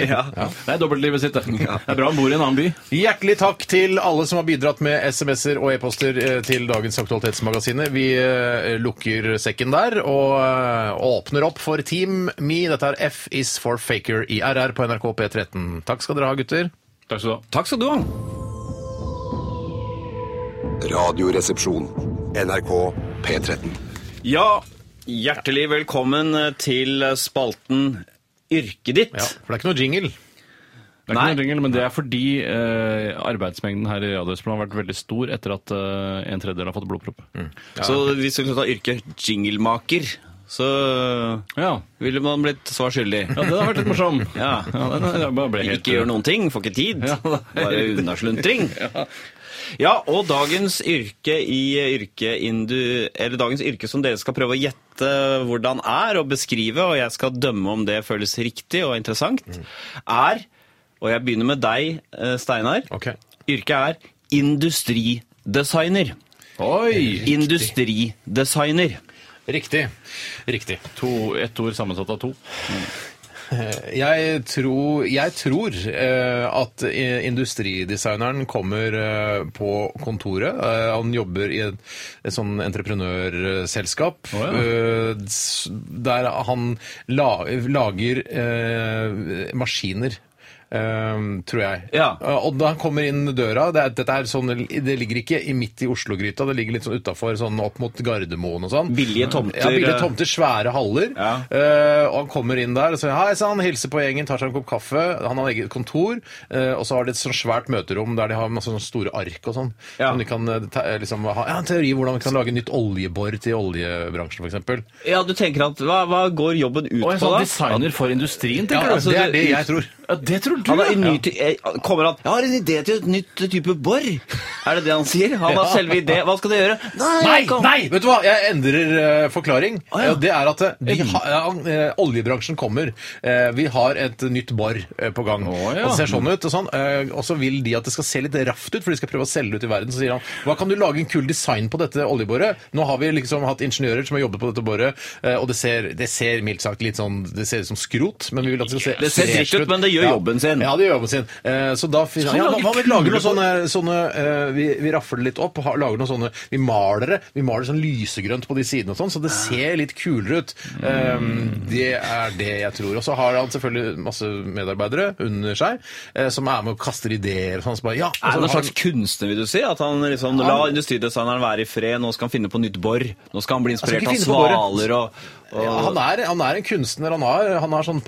C: Ja.
B: Det er dobbeltlivet sitt, det. Det er bra han bor i en annen by.
A: Hjertelig takk til alle som har bidratt med SMS-er og e-poster eh, til dagens Aktualitetsmagasinet. Vi eh, lukker sekken der og eh, åpner opp for Team Me. Dette er F is for faker i RR på NRK P13. Takk skal dere ha, gutter.
B: Takk skal du ha.
C: Takk skal du ha.
D: Radioresepsjon. NRK P13.
C: Ja, hjertelig velkommen til eh, spalten Yrket ditt.
A: Ja, for det er ikke noe jingle.
B: Det er ikke noen jingle, men det er fordi eh, arbeidsmengden her i Radiosplan har vært veldig stor etter at eh, en tredjedel har fått blodpropp.
C: Mm. Så hvis vi skulle ta yrket jinglemaker, så
B: Ja.
C: ville man blitt svar skyldig.
B: ja, den har vært litt morsom.
C: Ja.
B: Ja, den er, jeg bare ble helt,
C: Ikke gjør noen ting, får ikke tid.
B: Ja, nei.
C: Bare unnasluntring. Ja, og dagens yrke i yrkeindu... Eller dagens yrke som dere skal prøve å gjette hvordan er, og beskrive, og jeg skal dømme om det føles riktig og interessant,
B: Mm.
C: er Og jeg begynner med deg, eh, Steinar.
A: Ok.
C: Yrket er industridesigner.
B: Oi!
C: Industridesigner.
A: Riktig. Riktig.
B: To, ett ord sammensatt av to.
A: Jeg tror, jeg tror eh, at eh, industridesigneren kommer eh, på kontoret. Eh, han jobber i et, et sånn entreprenørselskap
B: Å, ja.
A: eh, s- der han la, lager eh, maskiner. eh, tror jeg.
C: Ja.
A: Eh, Og da han kommer inn døra det, er, dette er sånn, det ligger ikke i midt i Oslo-gryta, det ligger litt sånn utafor, sånn opp mot Gardermoen og sånn.
C: Billige tomter,
A: Ja, billige
C: eh.
A: tomter til svære haller.
C: Ja.
A: Eh, og han kommer inn der og sier hei sann, hilser på gjengen, tar seg en kopp kaffe. Han har eget kontor, eh, og så har de et sånn svært møterom der de har masse sånne store ark og sånn.
C: Ja.
A: Som de kan eh, ta, eh, liksom, ha ja, en teori hvordan vi kan lage nytt oljebor til oljebransjen, f.eks.
C: Ja, du tenker at hva, hva går jobben ut
B: Og en
C: på,
B: sånn
C: da?
B: designer for industrien,
A: Ja,
B: tenker du?
A: altså, det er det jeg tror.
B: Ja, det tror du,
C: Han har en ny
B: ja.
C: ty eh, kommer han, 'Jeg har en idé til et nytt type bor'. Er det det han sier? Han har
A: Ja.
C: selve idé. Hva skal du gjøre? Nei,
A: Nei,
C: jeg kan-
A: nei! Vet du hva, jeg endrer eh, forklaring.
C: ja.
A: Eh, Det er at eh, vi ha, eh, eh, oljebransjen kommer. Eh, vi har et nytt bor eh, på gang.
B: Å, ja.
A: Og det ser sånn ut. Og, sånn. Eh, og så vil de at det skal se litt raft ut, for de skal prøve å selge det ut i verden. Så sier han hva kan du lage en kul design på dette oljeboret? Nå har vi liksom hatt ingeniører som har jobbet på dette boret, eh, og det ser, det ser mildt sagt litt sånn Det ser ut som skrot, men vi vil at det skal se
C: Det ser dritt ut, men det gjør
A: ja.
C: jobben sin.
A: Ja, det gjør jobben sin. Eh, så da finner
B: Skal
A: ja,
B: han lage
A: hva- Hva om vi lager sånn, noen
B: kulebord?
A: sånne, sånne eh, vi, vi raffer det litt opp, har, lager noen sånne Vi maler det. Vi maler sånn lysegrønt på de sidene og sånn,
C: Ah.
A: så det ser litt kulere ut. Eh, det er det jeg tror. Og så har han selvfølgelig masse medarbeidere under seg eh, som er med og kaster ideer og sånn. Så bare, ja, og
C: Er
A: så
C: det noen
A: har
C: slags
A: han-
C: kunstner, vil du si? At han liksom La industridesigneren være i fred. Nå skal han finne på nytt bor. Nå skal han bli
A: skal
C: inspirert
A: ikke
C: av
A: finne på boret.
C: svaler og, og
A: ja, han, er, han er en kunstner. Han har, han har sånn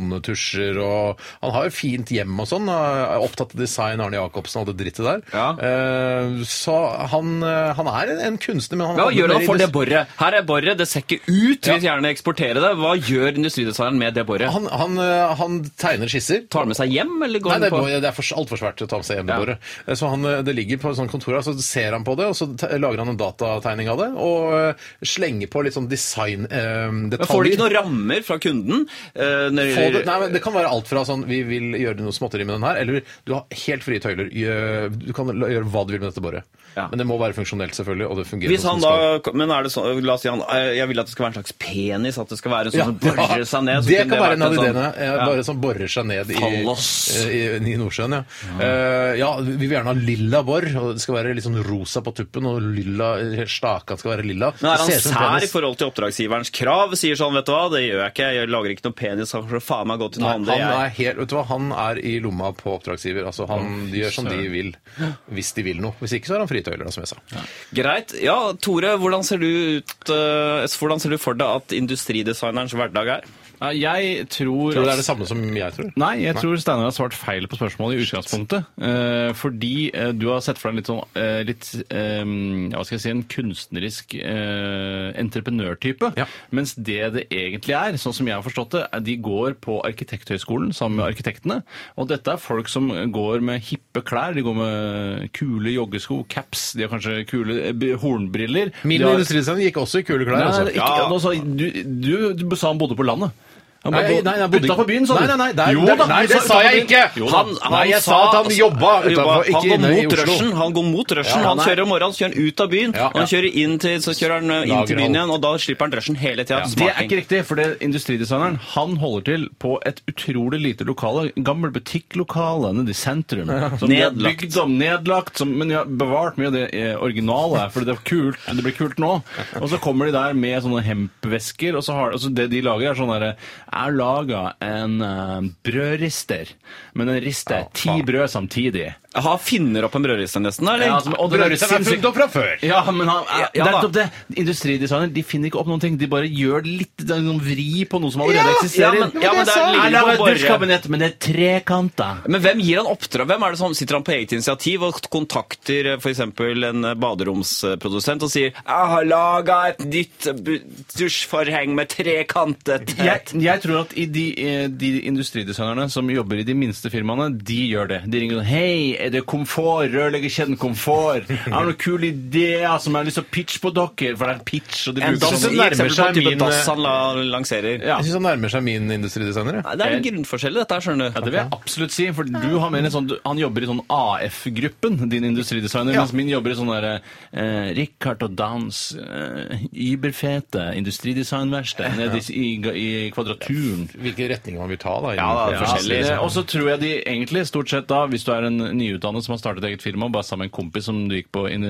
A: pantonetusjer og Han har jo fint hjem og sånn. og er Opptatt av design, Arne Jacobsen og alt det drittet der.
C: Ja.
A: Eh, så han, eh, han er en- en kunstner, men han
C: Hva gjør han
A: mer i
C: for
A: det-
C: det boret? Her er boret, det ser ikke ut. Vi vil gjerne eksportere det. Hva gjør industridesigneren med det boret?
A: Han, han, eh, han tegner skisser.
C: Tar han med seg hjem, eller går
A: Nei, det
C: han
A: er,
C: på
A: bare- det er for, altfor svært å ta med seg hjem det
C: Ja.
A: bordet. Eh, Så han, eh, det ligger på et sånt kontor, og så ser han på det, og så te- lager han en datategning av det, og eh, slenger på litt sånn
C: Men Får de ikke
A: design-detaljer.
C: noen rammer fra kunden? eh, når det
A: Få
C: gjelder-
A: det, nei, men det kan være alt fra sånn Vi vil gjøre noe småtteri med den her, eller du har helt frie tøyler. Gjø- Du kan la- gjøre hva du vil med dette boret.
C: Ja.
A: Men det må være funksjonelt, selvfølgelig, og det fungerer
C: Hvis
A: sånn
C: han
A: som det skal.
C: da, men er det sånn, la oss si han, eh, jeg vil at det skal være en slags penis, at det skal være en sånn som
A: Ja,
C: borer seg ned. så
A: det
C: kunne
A: kan være en av
C: vært
A: ideene.
C: sånn-
A: eh,
C: ja.
A: Bare som borer seg ned i,
C: Fallos.
A: eh, i, i Nordsjøen. Ja. Eh, ja, vi vil gjerne ha lilla bor. og Det skal være litt sånn rosa på tuppen, og lilla, staka skal være lilla.
C: Men er
A: Det
C: han
A: ser ut som
C: sær i
A: penis.
C: forhold til oppdragsgiverens krav? Sier sånn, vet du hva, det gjør jeg ikke, jeg lager ikke noe penis, han får faen meg gå til
A: Nei,
C: noen
A: han
C: andre. jeg.
A: er helt, vet du hva, han er i lomma på oppdragsgiver. Altså, han de gjør som de vil, hvis de vil noe. Hvis ikke så er han fritøyler, da, som jeg sa.
C: Greit. Ja, Tore, hvordan ser du, ut, eh, hvordan ser du for deg at industridesignerens hverdag er?
B: Ja, jeg tror,
A: Tror du det er det samme som jeg tror?
B: Nei, jeg tror Steinar har svart feil på spørsmålet i utgangspunktet. Eh, fordi eh, du har sett for deg en litt sånn eh, litt, eh, ja, hva skal jeg si, en kunstnerisk eh, entreprenørtype.
A: Ja.
B: Mens det det egentlig er, sånn som jeg har forstått det, er de går på Arkitekthøgskolen sammen med arkitektene. Og dette er folk som går med hippe klær. De går med kule joggesko, caps, de har kanskje kule eh, b- hornbriller.
A: Min
B: De har-
A: industridesign gikk også i kule klær.
B: Nei,
A: altså.
B: nei, ikke, nå sa- du, du, du sa han bodde på landet. Han
A: Nei, nei, han bodde ikke-
B: utenfor byen, sa du.
A: Nei, nei, nei, der-
B: jo,
A: der-
B: da,
A: nei,
B: du
A: det sa jeg
B: utenfor byen.
A: ikke.
B: Jo, da.
A: Han- Nei, jeg sa at han jobba utenfor, ikke
C: han
A: inne
C: går
A: i
C: mot
A: Oslo.
C: rushen, han går mot rushen.
A: Ja,
C: han
A: nei.
C: kjører om morgenen, så kjører han ut av byen,
A: Ja,
C: og han
A: ja.
C: kjører inn til, så kjører han eh, inn til
A: Lagerhold.
C: byen igjen, og da slipper han rushen hele tida.
B: Det er ikke riktig, for det industridesigneren han holder til på et utrolig lite lokale. en Gammel butikklokale nede i sentrum. Som de har
C: Nedlagt.
B: Bygd om, nedlagt. Som, men de har bevart mye av det eh, originale, for det, er kult, det blir kult nå. Og så kommer de der med sånne hempvesker, og, så har, og så det de altså lager, er sånn derre Jeg laga en eh, brødrister, men en rister ti brød samtidig.
C: Ha finner opp en brødrister nesten, da, eller?
B: Ja, altså, og det-
A: Brødristeren er funnet opp fra før.
B: Ja, men han,
C: Ja,
B: det
C: ja
B: er
C: da.
B: nettopp det. Industridesigner de finner ikke opp noen ting. De bare gjør litt det er noen vri på noe som allerede
C: ja,
B: eksisterer.
C: men- ja, men det er sånn.
B: Jeg
C: litt på
B: lager et
C: borre.
B: dusjkabinett, men det er trekanta.
C: Men hvem gir han oppdrag? Hvem er det som Sitter han på eget initiativ og kontakter f.eks. en eh, baderomsprodusent og sier 'Jeg har laga et nytt bu- dusjforheng med trekantet'?
B: Jeg, jeg tror at i de, eh, de industridesignerne som jobber i de minste firmaene, de gjør det. De ringer sånn Hei, er det komfort? Rørleggerkjeden Komfort? Jeg har noen kule ideer som jeg har lyst til å pitche på dere. For det er pitch, og de
C: En
B: bruker
C: dass,
A: synes
B: sånn
A: det
C: i
A: nærmer
C: eksempel på
A: seg
C: en type
A: min-
C: dass han la, lanserer.
B: eh, Ja. Eh,
A: Jeg syns han nærmer seg min industridesigner. jeg.
C: Det er en grunnforskjell i dette, her, skjønner
B: Ja,
C: du.
B: det vil jeg absolutt si, for du har mer en sånn, du, han jobber i sånn AF-gruppen, din industridesigner, mens min jobber i sånn der eh, Richard og Dans, eh, überfete industridesignverksted nede i, i, i kvadraturen.
A: Hvilke retninger man vil ta, da.
C: da,
A: innenfor-
C: det er
B: Ja,
C: forskjellig.
B: det-
A: liksom.
B: Og så tror jeg de egentlig stort sett da, hvis du er en nyutdannet som har startet eget firma, bare sammen med en kompis som du gikk på in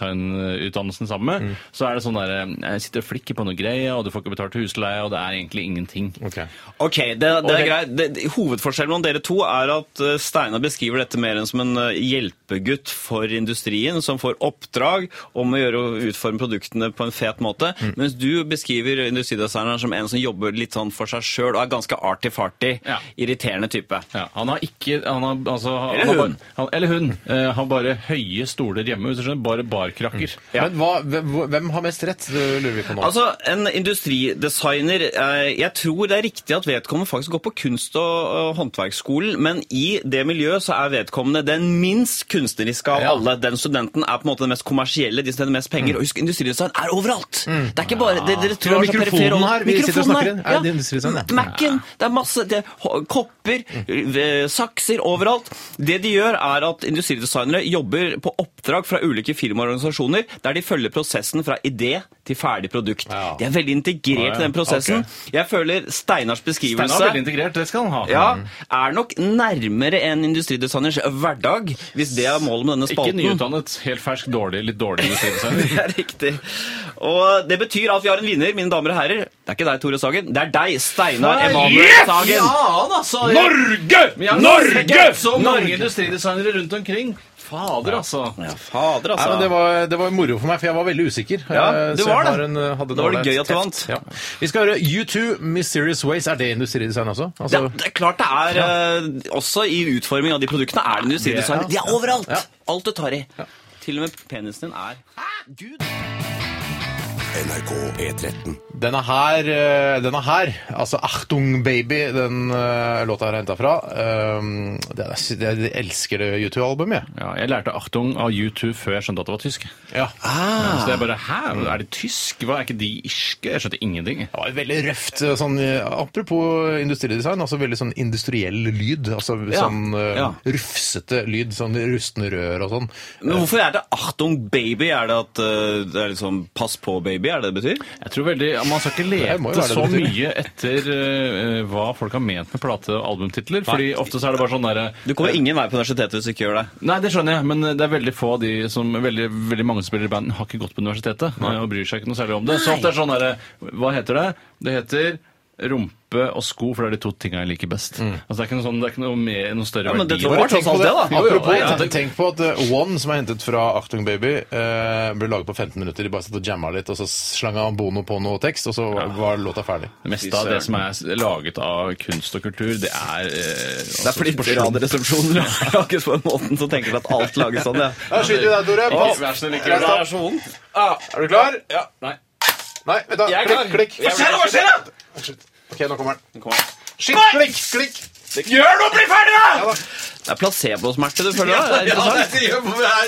B: industridesignutdannelsen sammen med, så er det sånn der eh, Jeg sitter og flikker på noe greier, og du får ikke betalt husleie, og det er egentlig ingenting.
A: Ok.
C: Ok, det, det er
B: det-
C: greit. Det- det- Hovedforskjellen mellom dere to er at eh, Steinar beskriver dette mer enn som en eh, hjelpegutt for industrien, som får oppdrag om å gjøre og utforme produktene på en fet måte, mens du beskriver industridesigneren som en som jobber litt sånn for seg sjøl og er ganske arty-farty,
B: Ja.
C: irriterende type.
B: Ja, han har ikke han har, altså, han
C: Eller
B: har
C: hun.
B: Bare, han, eller hun. Eh, har bare høye stoler hjemme, hvis du skjønner. Bare barkrakker.
A: Men hva, hvem- hvem har mest rett? Det lurer vi på nå.
C: Altså, En industridesigner eh, Jeg tror det er riktig at vedkommende faktisk går på kunst- og og håndverksskolen, men i det miljøet så er vedkommende den minst kunstneriske av
A: Ja. Mm.
C: alle. Den studenten er på en måte den mest kommersielle, de som tjener mest penger. Og husk, industridesign er overalt! Det er ikke bare det, dere tror
A: Ja,
C: er så
A: mikrofonen
C: perifere-
A: her, vi sitter og
C: Mikrofonen
A: snakker
C: her,
A: inn. Er det industridesign, det?
C: Mac-en. Det er masse det, er ho- kopper, eh, sakser overalt. Det de gjør, er at industridesignere jobber på oppdrag fra ulike firmaer og organisasjoner, der de følger prosessen fra idé til ferdig produkt.
A: Ja.
C: De er veldig
B: ja.
C: integrert i den prosessen. Jeg føler Steinars
B: Steinar
C: beskrivelse
B: er veldig integrert, Mm. det skal han ha.
C: ja, er nok nærmere en industridesigners hverdag, hvis det er målet med denne
B: Ikke
C: spalten.
B: nyutdannet, helt fersk, dårlig, litt dårlig industridesigner.
C: Det er riktig. Og det betyr at vi har en vinner, mine damer og herrer. Det er ikke deg, Tore Sagen. Det er deg, Steinar Emanuel Sagen.
B: altså!
A: Norge!
B: Så mange industridesignere rundt omkring. Fader, altså.
C: Ja, fader,
A: Nei,
C: altså.
A: men det, var, det var moro for meg, for jeg var veldig usikker.
C: Ja,
A: Eh,
C: du
A: så jeg
C: var det.
A: har en, eh, hadde
C: Da var det
A: dårlig
C: gøy at du
A: teft.
C: vant.
A: Ja. Vi skal høre U2 Mysterious Ways. Er det industridesign også?
C: det,
A: Altså,
C: det er klart det er eh, Også i utforming av de produktene er det industridesign.
A: Det-
C: De er overalt!
A: Ja.
C: Alt du tar i. Til og med penisen din er Gud!
D: NRK P13.
A: denne her, eh, denne her, altså Achtung Baby, den eh, låta her er henta fra eh, det, er- det, Jeg elsker det U2-albumet, jeg.
B: Ja, jeg lærte Achtung av U2 før jeg skjønte at det var tysk.
A: Ja.
B: Så det er bare Hæ, er det tysk? Hva, er ikke de irske? Jeg skjønte ingenting.
A: Det var veldig røft. eh, Sånn, eh, apropos industridesign, altså veldig sånn industriell lyd. Altså sånn eh,
C: ja.
A: rufsete lyd, sånn rustne rør og sånn.
C: Men hvorfor er det 'Achtung baby'? Er det at eh, det er liksom 'pass på baby'? Er det det betyr?
B: Jeg tror veldig, Man skal ikke
A: Det må
B: lete
A: jo være det
B: så
A: det betyr.
B: mye etter eh, hva folk har ment med plate- og albumtitler. fordi ofte så er det bare sånn derre
C: Du kommer ingen vei på universitetet hvis du ikke gjør det.
B: Nei, det skjønner jeg, men det er veldig få av de som veldig, veldig mange spillere i band har ikke gått på universitetet og bryr seg ikke noe særlig om det. Så at det er sånn derre Hva heter det? Det heter rumpe og sko, for det er de to tinga jeg liker best. Altså det er ikke noe, sånn, det er ikke noe, mer, noe større
C: Mm. Ja, men det
B: verdi.
C: tror jeg
A: Bare
C: var
A: tenk
C: tross
A: på
C: alt
A: det.
C: det, da.
A: Apropos,
C: Jo, jo, ja.
A: tenk- Tenk på at eh, One, som er hentet fra Achtung Baby, eh, ble laget på 15 minutter. De bare satt og jamma litt, og så slang han Bono på noe tekst, og så var låta ferdig.
B: Det meste av det som er s- laget av kunst og kultur, det er eh,
C: Det er fordi Radioresepsjonen lages på den måten som tenker at alt lages sånn. Ja.
A: Da skyter vi deg, Tore. Pass.
B: Vær så snill, ikke
A: Jeg
B: gjør det.
A: stopper.
B: Det er så vondt.
A: Er du klar? Ja.
B: Nei.
A: Nei, vent da.
B: Jeg er
A: Klikk,
B: klar.
A: klikk.
B: Hva skjer da? Hva
A: skjer da? Ok, nå kommer den. Shit, klikk, klikk. Gjør noe, bli ferdig da!
C: Det er placebosmerte du føler. da. Det er interessant.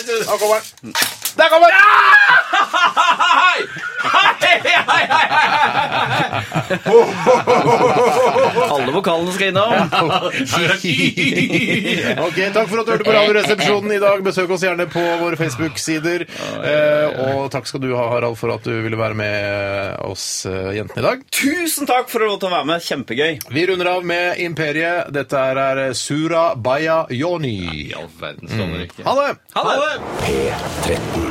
A: Nå kommer den. Der kommer den!
C: Alle vokalene skal innom.
A: Ok, Takk for at du hørte på Radioresepsjonen i dag. Besøk oss gjerne på våre Facebook-sider. Eh, og takk skal du ha, Harald, for at du ville være med oss eh, jentene i dag.
C: Tusen takk for å lov til å være med. Kjempegøy.
A: Vi runder av med Imperiet. Dette er, er Sura Baya Yoni.
B: I all verdens land, ikke.
A: Ha det!
C: Ha det.
D: P13.